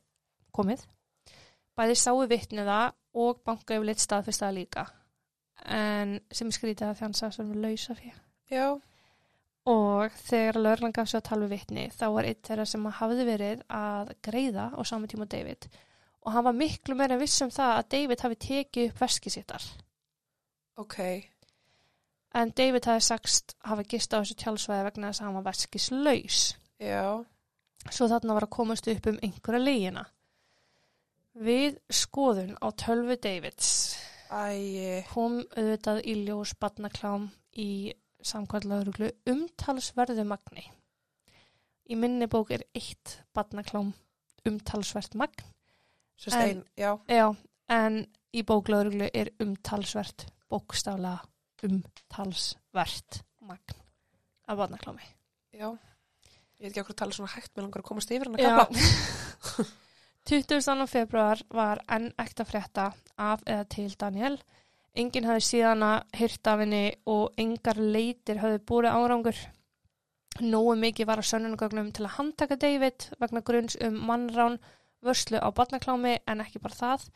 komið bæði sáu vitniða og banka yfir lit staðfestaða líka en sem skrítið að því hann sagðist verið með lausa fyrir
já,
og þegar lauruglan gaf sér að tala við vitni þá var eitt þeirra sem hafði verið að greiða á saman tíma og David og hann var miklu meira en viss um það að David hafi tekið upp veskið sittar
ok.
En David hafði sagst hafa gist á þessu tjálsvæði vegna þess að hann var veskislaus.
Já,
Svo þarna var að komast upp um einhverja leigina. Við skoðun á tölvu Davids
æ,
kom auðvitað í ljós barnaklám í samkvæmlaðuruglu umtalsverðu magni. Í minni bók er eitt barnaklám umtalsvert magn.
svo
En-
stein, já,
Já, en í bóklaðuruglu er umtalsvert bókstaflega umtalsvert magn af barnaklámi.
já. Ég veit ekki okkur að tala svona hægt, mér langar að komast yfir hann að
Já. [LAUGHS]
kappa.
22. februar var enn ekta frétta af eða til Daniel. Enginn hafði síðan að hýrt af henni og engar leitir hafði búið árangur. Nóu mikið var á sönnunugögnum til að handtaka David vegna grunns um mannrán vörslu á barnaklámi en ekki bara það.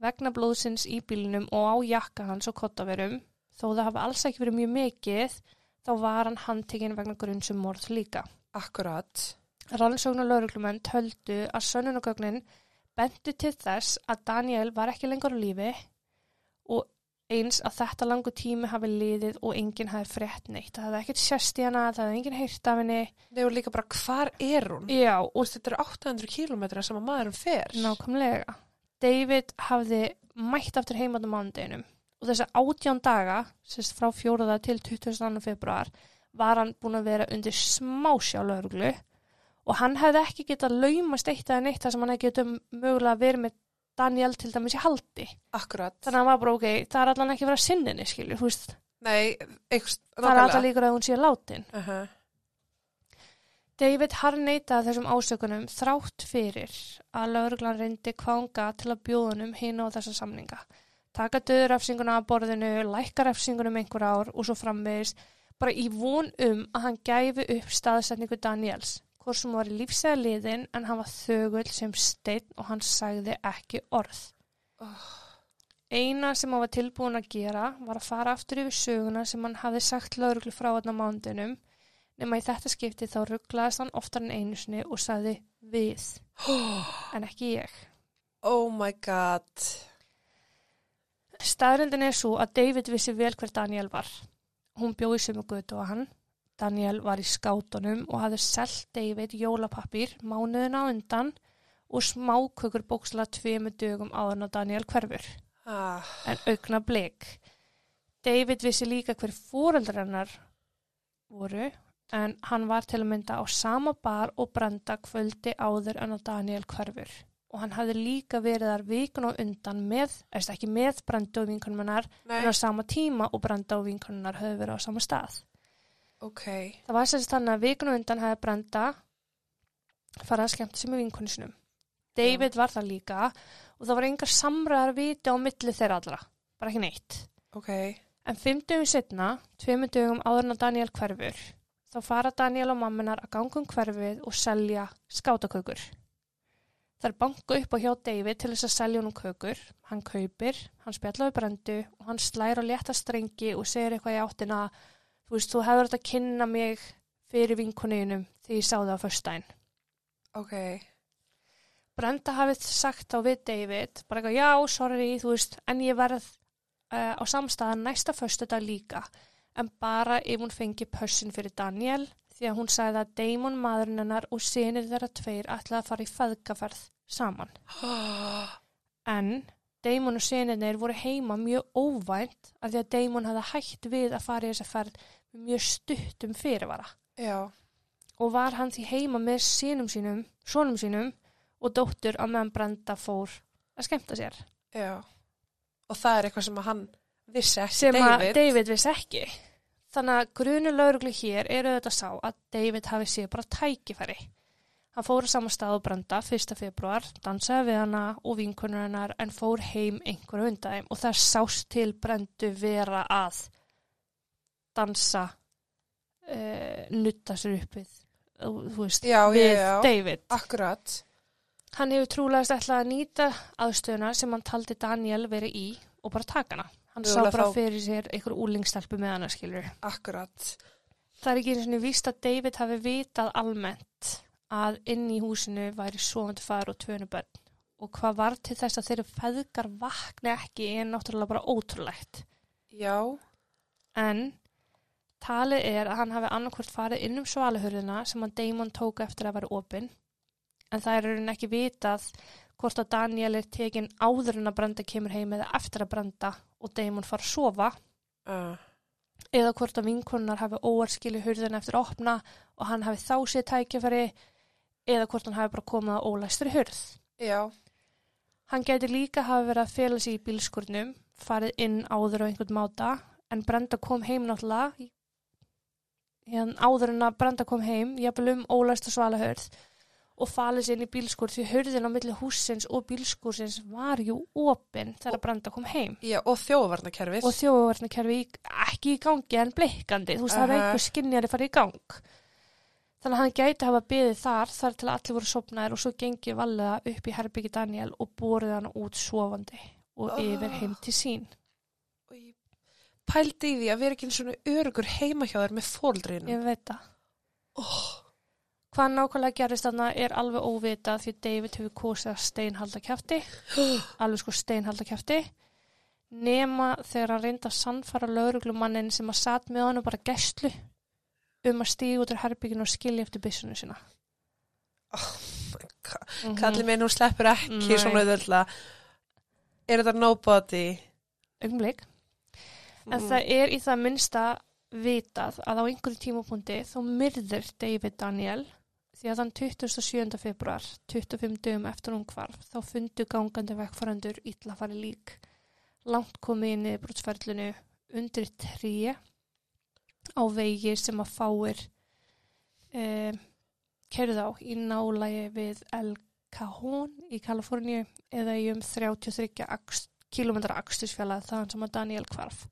Vegna blóðsins í bílinum og á jakka hans og kottaverum, þó það hafi alls ekki verið mjög mikið, þá var hann handtekinn vegna grunns um morð líka.
Akkurat.
Rannsókn og lauruglumenn töldu að sönnunagögnin bentu til þess að Daniel var ekki lengur á lífi og eins að þetta langu tími hafi liðið og enginn hafi frétt neitt. Það hefði ekkert sérst í hana, það hefði enginn heyrt af henni.
Nei, og líka bara, hvar er hún?
Já,
Þú veist, þetta eru 800 kílómetra sem að maðurinn fer.
nákvæmlega. David hafði mætt aftur heimann á mánudeginum og þessi átján daga, sérst frá fjóruða til 22. februar, var hann búin að vera undir smásjá lauruglu og hann hefði ekki getað laumast eitt eða neitt þar sem hann hefði getað mögulega verið með Daniel til dæmis í haldi.
Akkurat.
Þannig að hann var bara ok, það er allan ekki að vera sinninni, skilur, þú veist,
Nei, einhvers,
það er allan líkur að hún sé látin.
Uh -huh.
David harneitaði þessum ásökunum þrátt fyrir að lauruglan reyndi kvanga til að bjóða honum hinn á þessa samninga. Taka döðurafsinguna af borðinu, lækkarafsingunum einhver ár og svo framvegis bara í von um að hann gæfi upp staðsetningu Daniels. Hvorsum var í lífsæða liðin en hann var þögull sem steinn og hann sagði ekki orð. Eina sem hann var tilbúin að gera var að fara aftur yfir söguna sem hann hafði sagt lauruglu frá hann á um, mándunum nema í þetta skipti þá rugglaðist hann oftar en einu sinni og sagði við en ekki ég.
Oh my god.
Staðrindin er svo að David vissi vel hver Daniel var. Hún bjóði sem og götu á hann. Daniel var í skátunum og hafði selt David jólapappir mánuðina á undan og smákökur bóksla tveimu dögum áðan á Daniel hverfur.
Ah,
en aukna blik. David vissi líka hver fóreldrar hennar voru en hann var til að mynda á sama bar og brenda kvöldi áður en að Daniel hverfur. Og hann hafði líka verið þar vikun og undan með, eða ekki með brenda og vinkunmennar en
nei,
á sama tíma og brenda og vinkunmennar höfðu verið á sama stað.
ok.
Það var sérst þannig að vikun og undan hefði brenda farið að skemmta sig með vinkunsinum. David var það líka og það var engar samræðar viti á milli þeirra allra, bara ekki neitt.
Ok,
En fimm dögum setna, tveimur dögum áður en að Daniel hverfur, þá fara Daniel og mamminar að ganga um hverfið og selja skátakökur. Þær banka upp á hjá David til þess að selja honum kökur. Hann kaupir, hann spjallaði brendu og hann slær á létta strengi og segir eitthvað í áttina, þú veist, þú hefur þetta að kynna mig fyrir vinkoninum því ég sá það á föstudaginn.
Ok.
Brenda hafið sagt þá við David, bara eitthvað, já, sorry, þú veist, en ég verð uh, á samstæðan næsta föstudag líka, en bara ef hún fengi pössin fyrir Daniel, því að hún sagði að Damon maðurinn hennar og sinir þeirra tveir ætlaði að fara í feðgaferð saman. En Damon og sinirnir voru heima mjög óvænt af því að Damon hafði hætt við að fara í þessa ferð með mjög stuttum fyrirvara
Já.
og var hann því heima með sínum sínum, sonum sínum og dóttur á meðan Brenda fór að skemmta sér.
Já. Og það er eitthvað sem að hann vissi ekki.
Sem að
David.
David vissi ekki. Þannig að grunu lauruglu hér eru þetta sá að David hafi séð bara tækifæri. Hann fór á sama stað og Brenda 1. februar, dansaði við hana og vinkunur hennar en fór heim einhverju undan þeim og það sást til Brendu vera að dansa, uh, nutta sér upp við, þú veist,
Já, já,
við
já.
David.
Akkurat.
Hann hefur trúlegast ætlað að nýta aðstöðuna sem hann taldi Daniel verið í og bara taka hana. Hann sá
Mögulega
bara
þá-
fyrir sér einhver úlingstelpu með hana skilur.
Akkurat.
Það er ekki eins og víst að David hafi vitað almennt að inn í húsinu væri svoandi far og tvönu börn og hvað var til þess að þeirra feðgar vakna ekki er náttúrulega bara ótrúlegt.
Já.
En talið er að hann hafi annarkvort farið inn um svalahurðina sem hann Damon tók eftir að vera opinn. En það er raunin ekki vitað hvort að Daniel er tekin áður en að Brenda kemur heim eða eftir að Brenda og Damon fara að sofa Ah.
Uh.
eða hvort að vinkonunnar hafi óarskili hurðina eftir að opna og hann hafi þá séð tækifæri eða hvort hann hafi bara komið að ólæstri hurð.
Já.
Hann gæti líka hafa verið að fela sig í bílskurnum, farið inn áður á einhvern máta, en Brenda kom heim náttúrulega, í- en áður en að Brenda kom heim, jafnvel um ólæst og svalahörð, og falið sig inn í bílskur því hurðin á milli hússins og bílskursins var jú opinn þegar Brenda kom heim.
Já, og þjóðvarnakerfið.
Og þjóðvarnakerfi ekki í gangi en blikkandi, þú veist það er
Aha.
einhver skinnjari farið í gang. Þannig að hann gæti hafa byðið þar þar til allir voru sopnaðir og svo gengið vallega upp í herbyggi Daniel og borðið hann út sofandi og
Ah.
yfir heim til sín.
Og ég pældi í því að vera ekki eins og örugur heima hjá þér með fóldrinu.
Ég veit það.
Oh.
Hvað nákvæmlega gerist þarna er alveg óvitað því David hefur kosið að steinhalda kjafti, alveg sko steinhalda kjafti, nema þegar hann reyndi að sannfara lauruglumannin sem að satt með hann og bara gæstlu um að stíða út úr herbygginu og skilja eftir byssunni sína.
oh
Mm
Kallir mig nú sleppur ekki
Nei.
svona auðvöldla. Er þetta nobody?
Augnblik.
Mm.
En það er í það minnsta vitað að á einhverju tímapunkti þá myrðir David Daniel því að þann 27. februar, 25 dögum eftir hún hvarf, þá fundu gangandi vekkfærandur illa farið lík. Langt komið inn í brútsferðlinu undir trí á vegi sem að fáir um, kerðu á í nálægi við El Cajon í Kaliforníu eða í um 33 akst, kilometra akstusfjallað þaðan sem að Daniel hvarf.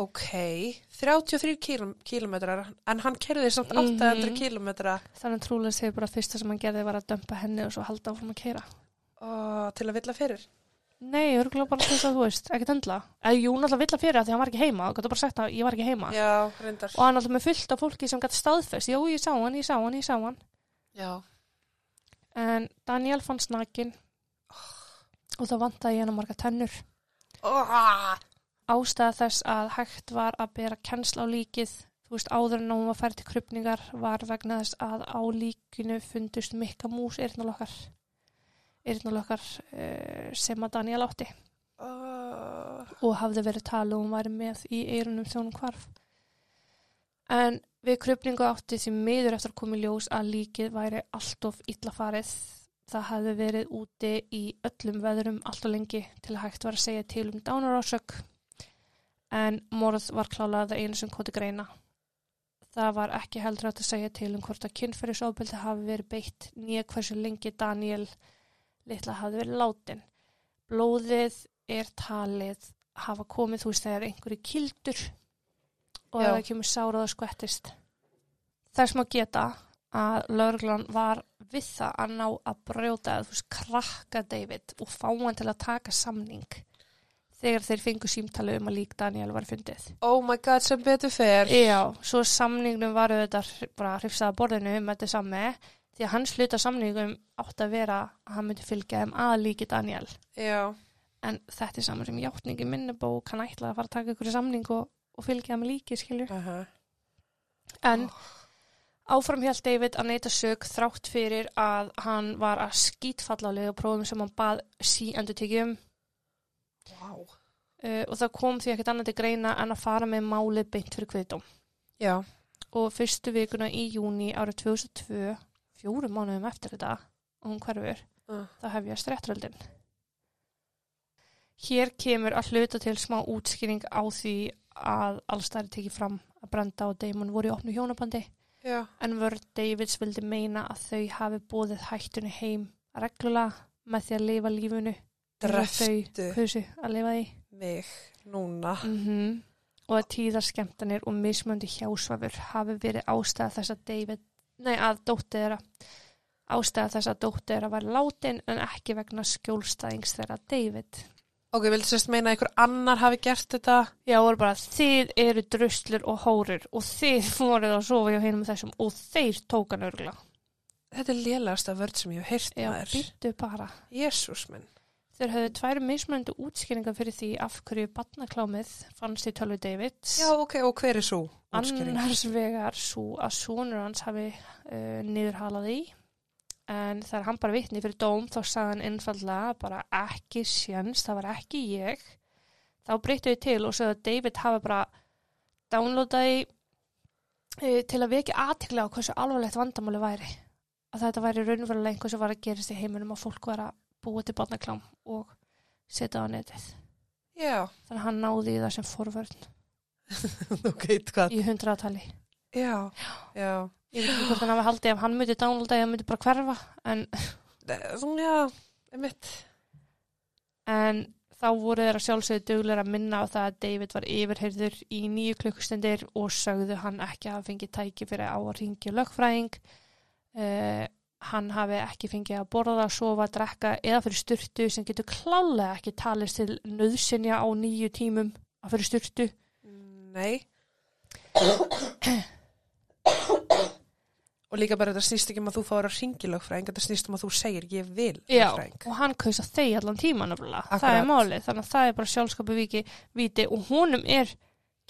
Ok, 33 kílum, kílómetrar, en hann kerði samt 800 mm
Mhm.
kílómetra
Þannig trúlega segir bara að fyrsta sem hann gerði var að dömpa henni og svo halda áfram að keira.
Ó, til að villa fyrir.
Nei, örgulega bara þess að þú veist, ekkert endla. Eða jú, náttúrulega vill að fyrir að því hann var ekki heima og gæti bara sagt að ég var ekki heima.
Já, reyndar.
Ah. Og hann alltaf með fullt af fólki sem gæti staðfest. Jú, ég sá hann, ég sá hann, ég sá hann.
Já.
En Daniel fann snakin og þá vantaði hann að marga tennur.
Oh,
Ástæða þess að hægt var að bera kennsla á líkið, þú veist, áður en hún var færi til krupningar var vegna þess að á líkinu fundust mikka mús eyrnalokkar, eyrnalokkar uh, sem að Daniel átti
oh,
og hafði verið talið og hún væri með í eyrunum þegar hún hvarf. En við krupningu átti því miður eftir að koma í ljós að líkið væri allt of illa farið. Það hafði verið úti í öllum veðrum allt of lengi til að hægt var að segja til um dánarásök. En morð var klálað að einu sem koti greina. Það var ekki heldur átt að segja til um hvort að kynferðisofbeldi hafi verið beitt nýja hversu lengi Daniel litla hafi verið látin. Blóðið er talið hafa komið þú veist þegar einhverju kildur og
Já.
ef það kemur sárað og skvettist. Þess má geta að lögreglan var við það að ná að brjóta eða þú veist krakka David og fá hann til að taka samning þegar þeir fengu símtali um að lík Daniel var fundið.
Oh my god, sem betur fer.
Já, svo samningnum var auðvitað hr- bara hrifsaða borðinu um þetta sami því að hans hluta samningum átt að vera að hann myndi fylgja þeim að líki Daniel.
Já,
En þetta er saman sem játningi minnubók hann ætlaði að fara að taka ykkur samning og, og fylgja þeim að líki skilju.
aha.
En áfram held David að neyta sög þrátt fyrir að hann var að skítfalla á legaprófum sem hann bað sí endur tekjum
Wow.
uh, og það kom því ekkert annað til greina en að fara með málið beint fyrir kviðdóm.
Já,
Og fyrstu vikuna í júni árið 2002, fjórum mánuðum eftir þetta, og hún hverfur,
Mm.
þá hef ég að strettröldin. Hér kemur að hluta til smá útskýring á því að allstæri tekið fram að Brenda og Damon voru í opnu hjónabandi
já,
en vörð Davids vildi meina að þau hafi bóðið hættunni heim reglulega með því að lifa lífinu eins og
Dreptu.
þau kusu að lifa því
mig, núna.
mm og að tíðarskemtanir og mismöndi hjásvafur hafi verið ástæða þess að David nei að dóttið þeirra ástæða þess að dóttið þeirra var látin en ekki vegna skjólstæðings þeirra David
Ok, viltu sérst meina að einhver annar hafi gert þetta?
Já, voru bara, þið eru druslur og hórir og þið voruð að sofa hjá hinum þessum og þeir tókan örgla.
Þetta er lélagasta vörð sem ég hef heyrt
Já,
maður.
býttu bara.
Jésús minn.
Þeir höfðu tvær mismunandi útskýringar fyrir því af hverju batnaklámið fannst í tölvu Davids.
Já, ok, og hver er svo?
Annars vegar svo að sonur hans hafi uh, niðurhalað í. En þegar hann bara vitni fyrir dóm þá sagði hann einfallega bara ekki sjans, það var ekki ég. Þá breyttu þau til og sögðu að David hafi bara downloadaði uh, til að veki aðtekla á hversu alvarlegt vandamáli væri. Að þetta væri raunverulega einhver sem var að gerast í heiminum að fólk var að búa til barnaklám og setja á netið.
[LAUGHS] Já,
Þannig að hann náði í það sem forvörn
ok, hvað?
í hundraðatali.
Já, já.
ég veit ekki hvort hann hafi haldið ef hann myndi downloada eða hann myndi bara hverfa en,
Þú, já, emitt.
en þá voru þeirra sjálfsögðu duglega að minna á það að David var yfirheyrður í nýju klukkustundir og sögðu hann ekki að hafa fengið tæki fyrir á að ringja lögfræðing uh, hann hafi ekki fengið að borða, sofa, drekka eða fyrir styrtu sem getur klálega ekki talist til nöðsynja á nýju tímum að fyrir styrtu
Nei. [COUGHS] og líka bara þetta snýst ekki um að þú fáir að ringi lögfræðing, þetta snýst um að þú segir ég vil
Já,
lögfræðing.
og hann kaus að þegja allan tíma nefnilega, það
Akkurat.
er málið, þannig að það er bara sjálfskapu viki viti og honum er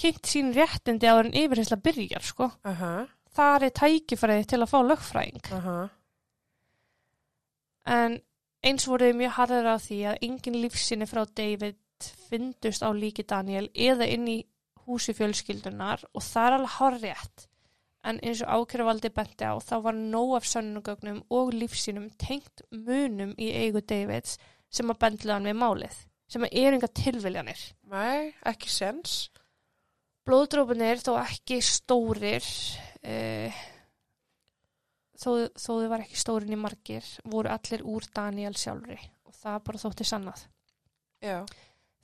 kynnt sín réttindi áður en yfirheysla byrjar, sko.
Aha,
Það er tækifærið til að fá lögfræðing.
aha.
En eins voruð mjög harðir á því að engin lífsinni frá David fyndust á líki Daniel eða inn í húsi fjölskyldunar og það er alveg harrétt. En eins og ákjöruvaldi benti á þá var nóg af sönnugögnum og lífsínum tengt munum í eigu Davids sem að bendla hann við málið, sem að er enga tilviljanir.
Nei, ekki sens.
Blóðdrópunir þó ekki stórir, uh, þó, þó þau var ekki stórin í margir, voru allir úr Daniel sjálfri og það bara þótti sannað.
Já,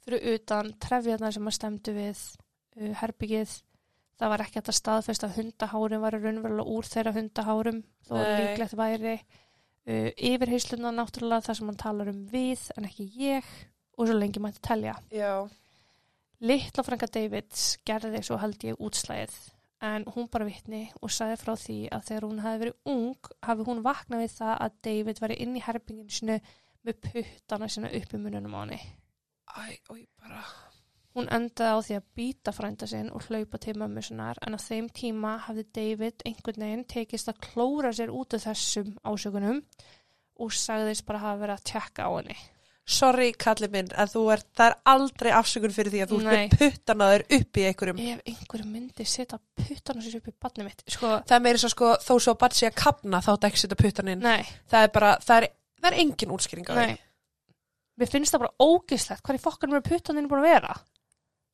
fyrir utan trefjarnar sem að stemdu við uh, herbyggið það var ekki hægt að staðfesta að hundahárum var raunverulega úr þeirra hundahárum þó að
Nei.
líklegt væri uh, yfirheysluna náttúrulega þar sem hann talar um við en ekki ég og svo lengi mætti telja
já,
Litla frænka Davids gerði svo held ég útslæðið en hún bara vitni og sagði frá því að þegar hún hafi verið ung hafi hún vaknað við það að David væri inn í herbygginu sinu með puttana sína upp í mununum á henni
æ, oi, bara,
Hún endaði á því að býta frænda sinn og hlaupa til mömmu sinnar en á þeim tíma hafði David einhvern veginn tekist að klóra sér út af þessum ásökunum og sagðist bara hafa verið að tjekka á henni.
sorry kallið minn, en þú ert, það er aldrei afsökun fyrir því að þú
Nei.
ert með puttanaður upp í einhverjum.
Ef einhverju myndi setja puttana sér upp í badni mitt, sko,
Það er meira svo sko, þó svo að barn sé að kapna þá þetta ekki setja puttan inn.
nei,
Það er bara, það er, það er engin útskýring á því.
nei. Mér finnst það bara ógislegt, hvað er fokkanum er puttaninn búin að vera?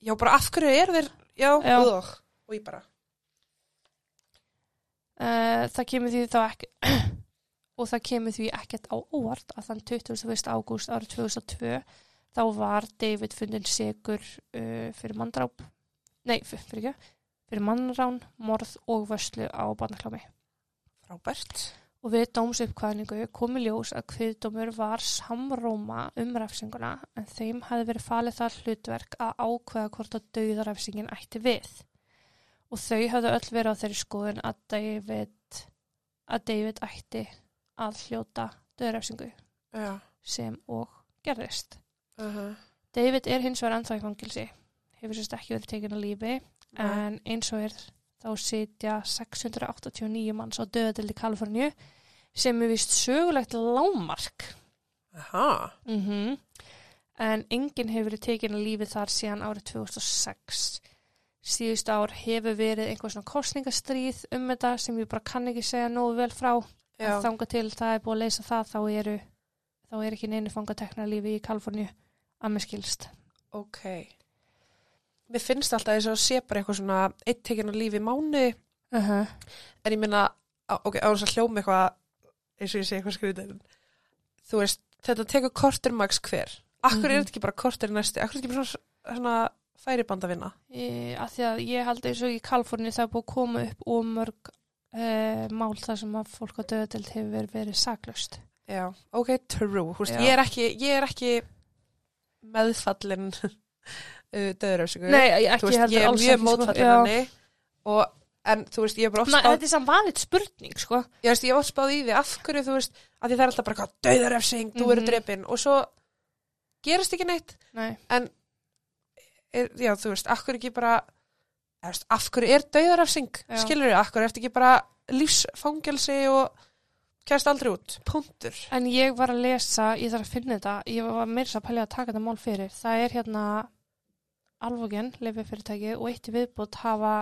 Já, bara af hverju eru þeir, já,
Já.
og, og ég bara.
Eh, það kemur því þá ekki [CLEARS THROAT] og það kemur því ekkert á óvart að þann 21. ágúst árið 2002 þá var David fundin segur uh, fyrir manndráp nei, f- fyrir ekki fyrir mannrán, morð og vörslu á barnaklámi
Frábært.
og við dómsuppkvæðningu komi ljós að kviðdómur var samróma um refsinguna en þeim hafði verið falið það hlutverk að ákveða hvort að dauðarefsingin ætti við. Og þau hafði öll verið á þeirri skoðun að David, að David ætti að hljóta dauðarefsingu
Já.
sem og gerðist.
Uh
David er hins vegar ennþá í fangilsi, hefur sérst ekki verið tekinn að lífi en eins og er þá sitja 689 manns á döðatildi Kaliforníu sem er vist sögulegt lámark
Aha.
mm en enginn hefur verið tekin að lífi þar síðan árið 2006 síðust ár hefur verið einhver svona kostningastríð um þetta sem ég bara kann ekki segja nógu vel frá
Já.
að þanga til það er búið að leysa það þá eru þá er ekki neinu fangatekna lífi í Kaliforníu að mér skilst
Ok. Mér finnst alltaf þess að sé bara eitthvað svona eitt tekinn á lífi í mánu
uh -huh.
en ég minna, ok, á þess að hljóma eitthvað eins og ég sé eitthvað skrýðin þú veist, þetta tekur kortur max hver. Akkur er
Mhm.
þetta ekki bara kortur næsti? Akkur er þetta ekki bara svona, svona færiband að vinna?
e, að því að ég held eins og í Kaliforni það er búið að koma upp ómörg e, mál þar sem að fólk á döðatild hefur verið, verið saklaust.
Já, ok, true. Húst,
Já.
ég, er ekki, ég er ekki meðfallin [LAUGHS] uh, döðuröfsingu.
Nei,
þú
ekki
veist,
heldur
ég er
alls
mjög
ekki, sko.
mótfallin
Já.
henni og, en þú veist, ég er bara oft
Ma,
spáð,
þetta er samt vanið spurning, sko.
ég, veist, ég er oft spáð í því af hverju, þú veist, að því það er alltaf bara hvað döðuröfsing, þú
Mhm.
eru drepin og svo gerist ekki neitt
Nei.
er, já, þú veist, af hverju ekki bara eða, þú veist, af hverju er döðarafsing
Já.
skilur þau, af hverju ertu ekki bara lífsfangelsi og kæst aldrei út, punktur
En ég var að lesa, ég þarf að finna þetta, ég var meira þess að pælja að taka þetta mál fyrir. Það er hérna alvogen, leififyrirtæki og eitt í viðbútt hafa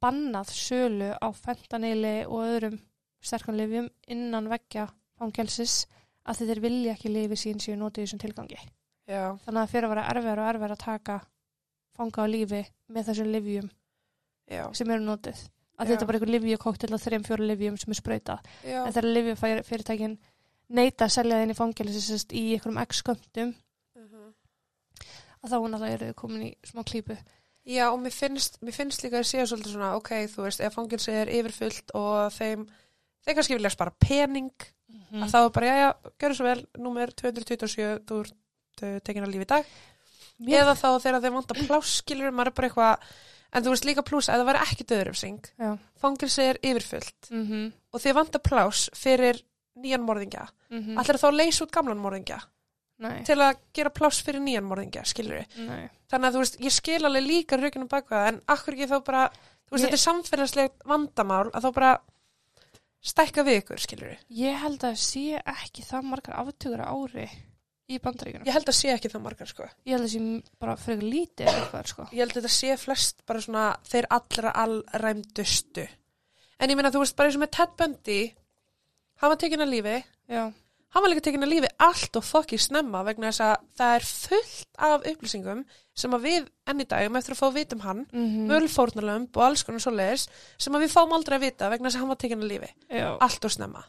bannað sölu á fentanili og öðrum sterkum leifjum innan veggja fangelsis að þeir vilja ekki leifi sín séu notið í þessum tilgangi.
já,
þannig að fyrir að vera erfiðar og erfiðar að taka fanga á lífi með þessum livjum
já,
sem eru notið að
Já.
þetta er bara einhver livjökoktel á þreim fjóru livjum sem er sprautað
já,
en þegar livjufyrirtækin neita að selja það inn í fangelsi sérst í einhverjum x-sköndum
Mhm.
að þá náttúrulega eru þau komin í smá klípu
já og mér finnst, mér finnst líka að séu svolítið svona, ok, þú veist, ef fangelsi er yfirfullt og þeim þeir kannski vilja spara pening að þá er bara, já, já, gjörðu svo vel númer 227, þú ert uh, tekin að lífi í dag
Mér-
eða þá þegar þeir vanda pláskilur maður er bara eitthvað, en þú veist líka pluss að það væri ekki döðuröfsing
Já.
fangelsi er yfirfullt
mm -hmm.
og þið vantar plás fyrir nýjan morðingja mm.
Mm
allir þá að leysa út gamlan morðingja
nei,
til að gera plás fyrir nýjan morðingja skilur við,
nei.
þannig að þú veist ég skil alveg líka rökunum bakvað en akkur ekki þá bara, þú veist
Ég-
þetta er samfélagslegt vandamál að þá bara stækka við ykkur skilur við,
ég held að sé ekki það margar aftugur á ári í bandaríkunum
ég held að sé ekki það margar sko,
ég held að sé bara frekar lítið eða eitthvað sko.
ég held að þetta sé flest bara svona þeir allra allræmdustu en ég meina þú veist bara eins og með Ted Bundy hann var tekin að lífi
já,
hann var líka tekin að lífi allt og fokki snemma vegna þess að það er fullt af upplýsingum sem að við enn í dagum eftir að fá að vita um hann,
mm
mm. völfórnalömb og alls konar svoleiðis sem að við fáum aldrei að vita vegna þess að hann var tekin að lífi
já.
allt og snemma.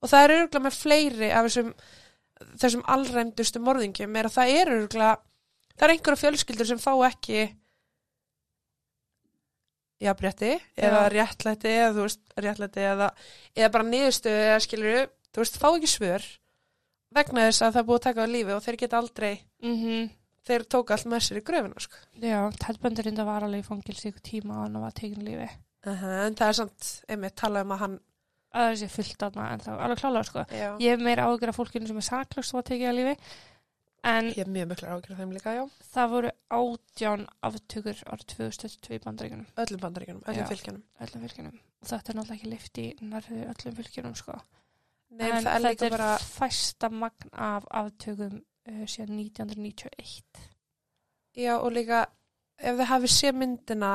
Og það er örgulega með fleiri af þessum, þessum allræmdustu morðingjum er að það er örgulega það er einhverja fjölskyldur sem fá ekki jafnrétti eða réttlæti eða þú veist réttlæti eða, eða bara niðurstöðu eða skilur þú veist fá ekki svör vegna þess að það er búið að taka á lífi og þeir geta aldrei
Mm
þeir tók allt með sér í gröfinu sko.
Já, teltböndurinn það var alveg í fangilsi ykkur tíma og hann var tekin lífi.
uh en það er samt einmitt talað um að hann
Að það sé fullt aðna en það var alveg klálega sko.
já,
Ég hef meira ágjör af fólkinu sem er saklaust og var tekið að lífi. En
ég er mjög miklar ágjörð þeim líka já,
það voru átján aftökur árið 2022 í bandaríkunum,
öllum bandaríkjunum, öllum
Já.
fylgjunum
öllum fylgjunum. Og þetta er náttúrulega ekki lift í nærfið öllum fylgjunum sko.
Nei,
en
það er
þetta
líka
er
bara
fæsta magn af aftökum uh, síðan 1991.
Já, og líka ef þið hafið sé myndina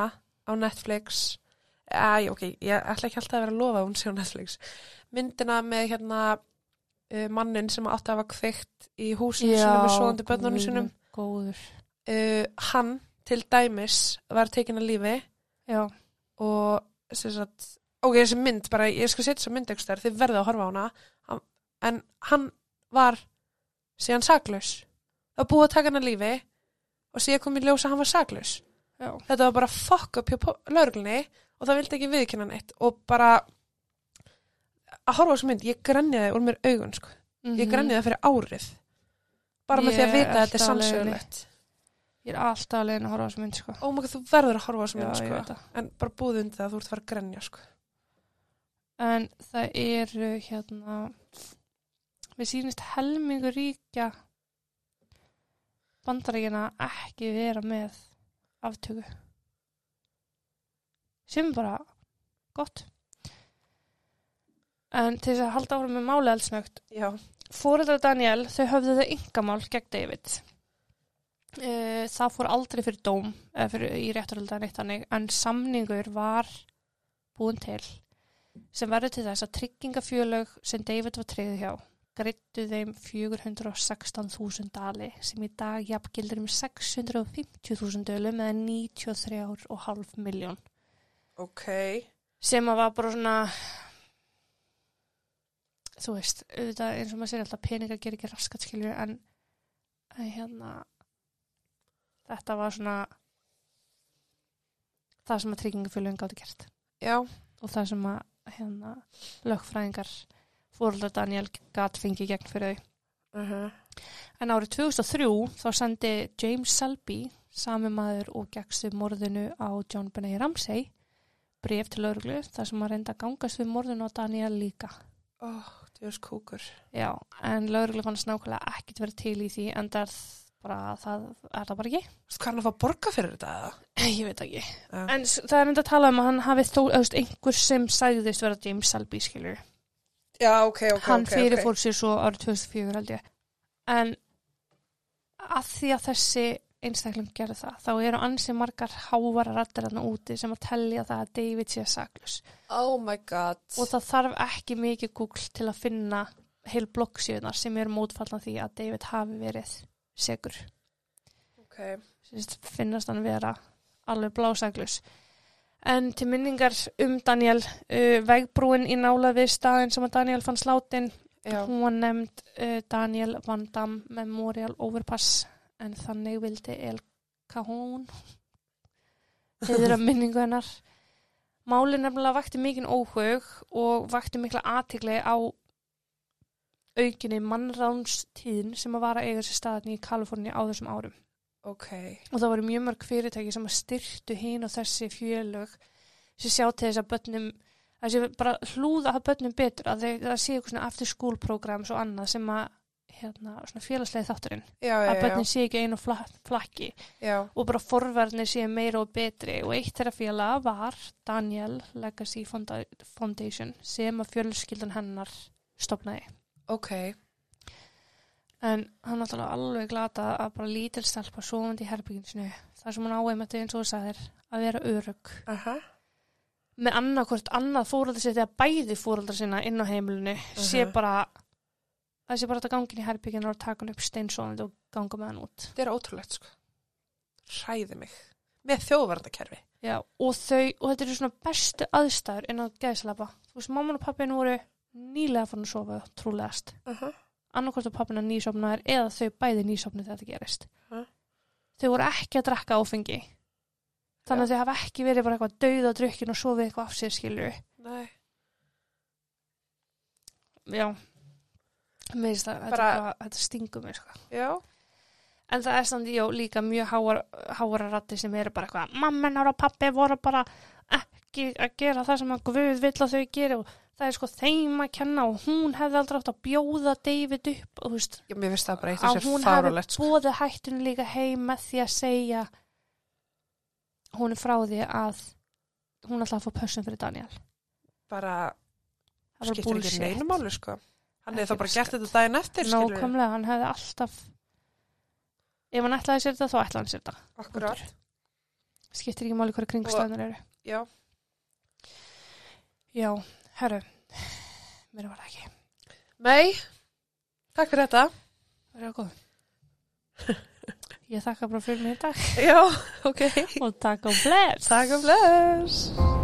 á Netflix Æ, ok, ég ætla ekki alltaf að vera að lofa að hún sé á Netflix myndina með hérna uh, mannin sem átti að hafa kveikt í húsinu sínum og svoandi börnunum
guð
sínum
minn Góður.
uh, hann til dæmis var tekin að lífi
Já,
og sem sagt, ok, þessi mynd bara, ég skal setja þessi mynd ekki stær, þið verðið að horfa á hana Hann- en hann var síðan saklaus það var búið að taka hann að lífi og síðan kom í ljós að hann var saklaus
já.
þetta var bara fuck up hjá löglunni og það vildi ekki viðkynna neitt og bara að horfa á þessu mynd, ég grenjaði úr mér augun sko. ég grenjaði fyrir árið bara með
Mhm. Ég
því að vita
er
að þetta er
alltaf leiðinni.
sannsögulegt
Ég er alltaf að leiðin að horfa á þessu mynd, sko.
Ó maður, þú verður að horfa á þessu
Já,
mynd
ég
sko.
veit það.
en bara búðu undir það að þú ert að fara að grenja sko.
En það eru, hérna, við sýnist helmingur ríkja bandaríkina ekki vera með aftöku. Sem er bara gott. En til þess að halda áfram með máli allsnögt,
Já,
Fóreldrar Daniel, þau höfðu þau yngamál gegn David. Eh, Það fór aldrei fyrir dóm eða fyrir í rétturöldan eitt þannig en samningur var búin til sem verður til þess að tryggingafjölög sem David var tryggð hjá greittu þeim 416.000 dali sem í dag jafngildur um 650.000 dölum eða 93,5 miljón
ok
sem að var bara svona þú veist, auðvitað eins og maður sér alltaf peningar gerir ekki raskat skilju en, en hérna þetta var svona það sem að tryggingafélugin gáti gert
Já,
og það sem að hérna, lögfræðingar fórhaldar Daniel gat fengið gegn fyrir þau
uh
Mhm. en árið 2003 þá sendi James Selby sami maður og gegstu morðinu á John Benet Ramsey bref til lauruglu þar sem að reynda að gangast við morðinu á Daniel líka
Ó, þú veist kúkur
Já, en lauruglu fannst nákvæmlega ekkit verið til í því en það er bara, það er það bara ekki.
Þú hvað hann að fá að borga fyrir þetta eða?
[LAUGHS] Ég veit ekki.
Já.
En s- það er enda að tala um að hann hafi þó, þú veist, einhver sem sagðist vera James Selby, skilur.
Já, ok, ok,
hann fyrirfór sér svo árið 2004 held ég. En að því að þessi einstaklum gerði það, þá eru ansið margar hávara rættir þarna úti sem að tellja það að David sé saklus.
Oh my god
Og það þarf ekki mikið Google til að finna heil bloggsíðunar sem eru mótfallna því að David hafi verið segur.
okay.
Sýst, finnast hann vera alveg blásaklus. En til minningar um Daniel, uh, vegbrúin í nála við staðin sem að Daniel fann sláttinn,
Já,
hún var nefnd uh, Daniel Van Damme Memorial Overpass, en þannig vildi El Cajon heiður að minningu hennar. Málið nefnilega vakti mikinn óhug og vakti mikla aðtigli á aukinni mannránstíðin sem að vara að eiga sér staðin í Kaliforni á þessum árum
ok
og það voru mjög mörg fyrirtæki sem að styrtu hinn og þessi fjölög sem sjá til þess að börnum að sé bara hlúða að börnum betur að þeir, það sé eitthvað svona after school programs og annað sem að hérna, svona félagslegi þátturinn
Já, já,
að
já,
börnin sé ekki einu flak, flakki
já.
og bara forverðni sé meira og betri og eitt þeirra félaga var Daniel Legacy Fonda Foundation sem að fjölskyldan hennar stopnaði
Ok,
En hann náttúrulega alveg glata að bara lítil stelpa sofandi í herbygginu sinu þar sem hann áeim þetta eins og þú sagðir að vera örug.
aha
Með annarkvort annað fóröldar sitt eða bæði fóröldar sinna inn á heimilinu sé
Mhm.
bara það sé bara þetta gangin í herbygginu og taka hann upp steinsofandi og ganga með hann út.
Þetta er ótrúlegt sko Hræði mig Með þjóðvarnakerfi
Já, og þau, og þetta eru svona bestu aðstæður inn á gæðslapa. Þú veist, mamman og pappin voru nýlega fann að sofa trúlegast.
uh -huh.
annarkvort að pappina nýsopnaðir eða þau bæði nýsopni þegar þetta gerist.
Ha?
Þau voru ekki að drakka áfengi. Þannig að þau hafa ekki verið bara eitthvað dauð á drukkin og sofið eitthvað af sér skilju.
Nei
Já. Mér finnst það, þetta,
Bara-
bara, þetta stingum mér sko.
Já,
En það er samt, já, líka mjög háar, háara rætti sem eru bara eitthvað mammenar og pappi voru bara ekki að gera það sem að Guð vill að þau gera og það er sko þeim að kenna og hún hefði aldrei átt að bjóða David upp og þú veist,
Já, mér finnst það bara eitt
að
og sér
hún hafi
fárulegt sko.
bóðu hættunum líka heim með því að segja hún er frá því að hún ætlaði að fá pössun fyrir Daniel
bara
það var
skiptir ekki neinu máli sko hann hefði
Ekki
þá bara
raskat.
gert þetta daginn eftir skilur
nákvæmlega, hann hefði alltaf ef hann ætlaði sér þetta þá ætlaði hann sér þetta
akkurat,
skiptir ekki máli hverju kringstæðunar eru
já,
já, herru mér var það ekki,
mei takk fyrir þetta,
verður
[LAUGHS]
það góð ég þakka bara fyrir mig í dag
já, ok
og takk og bless
um takk og bless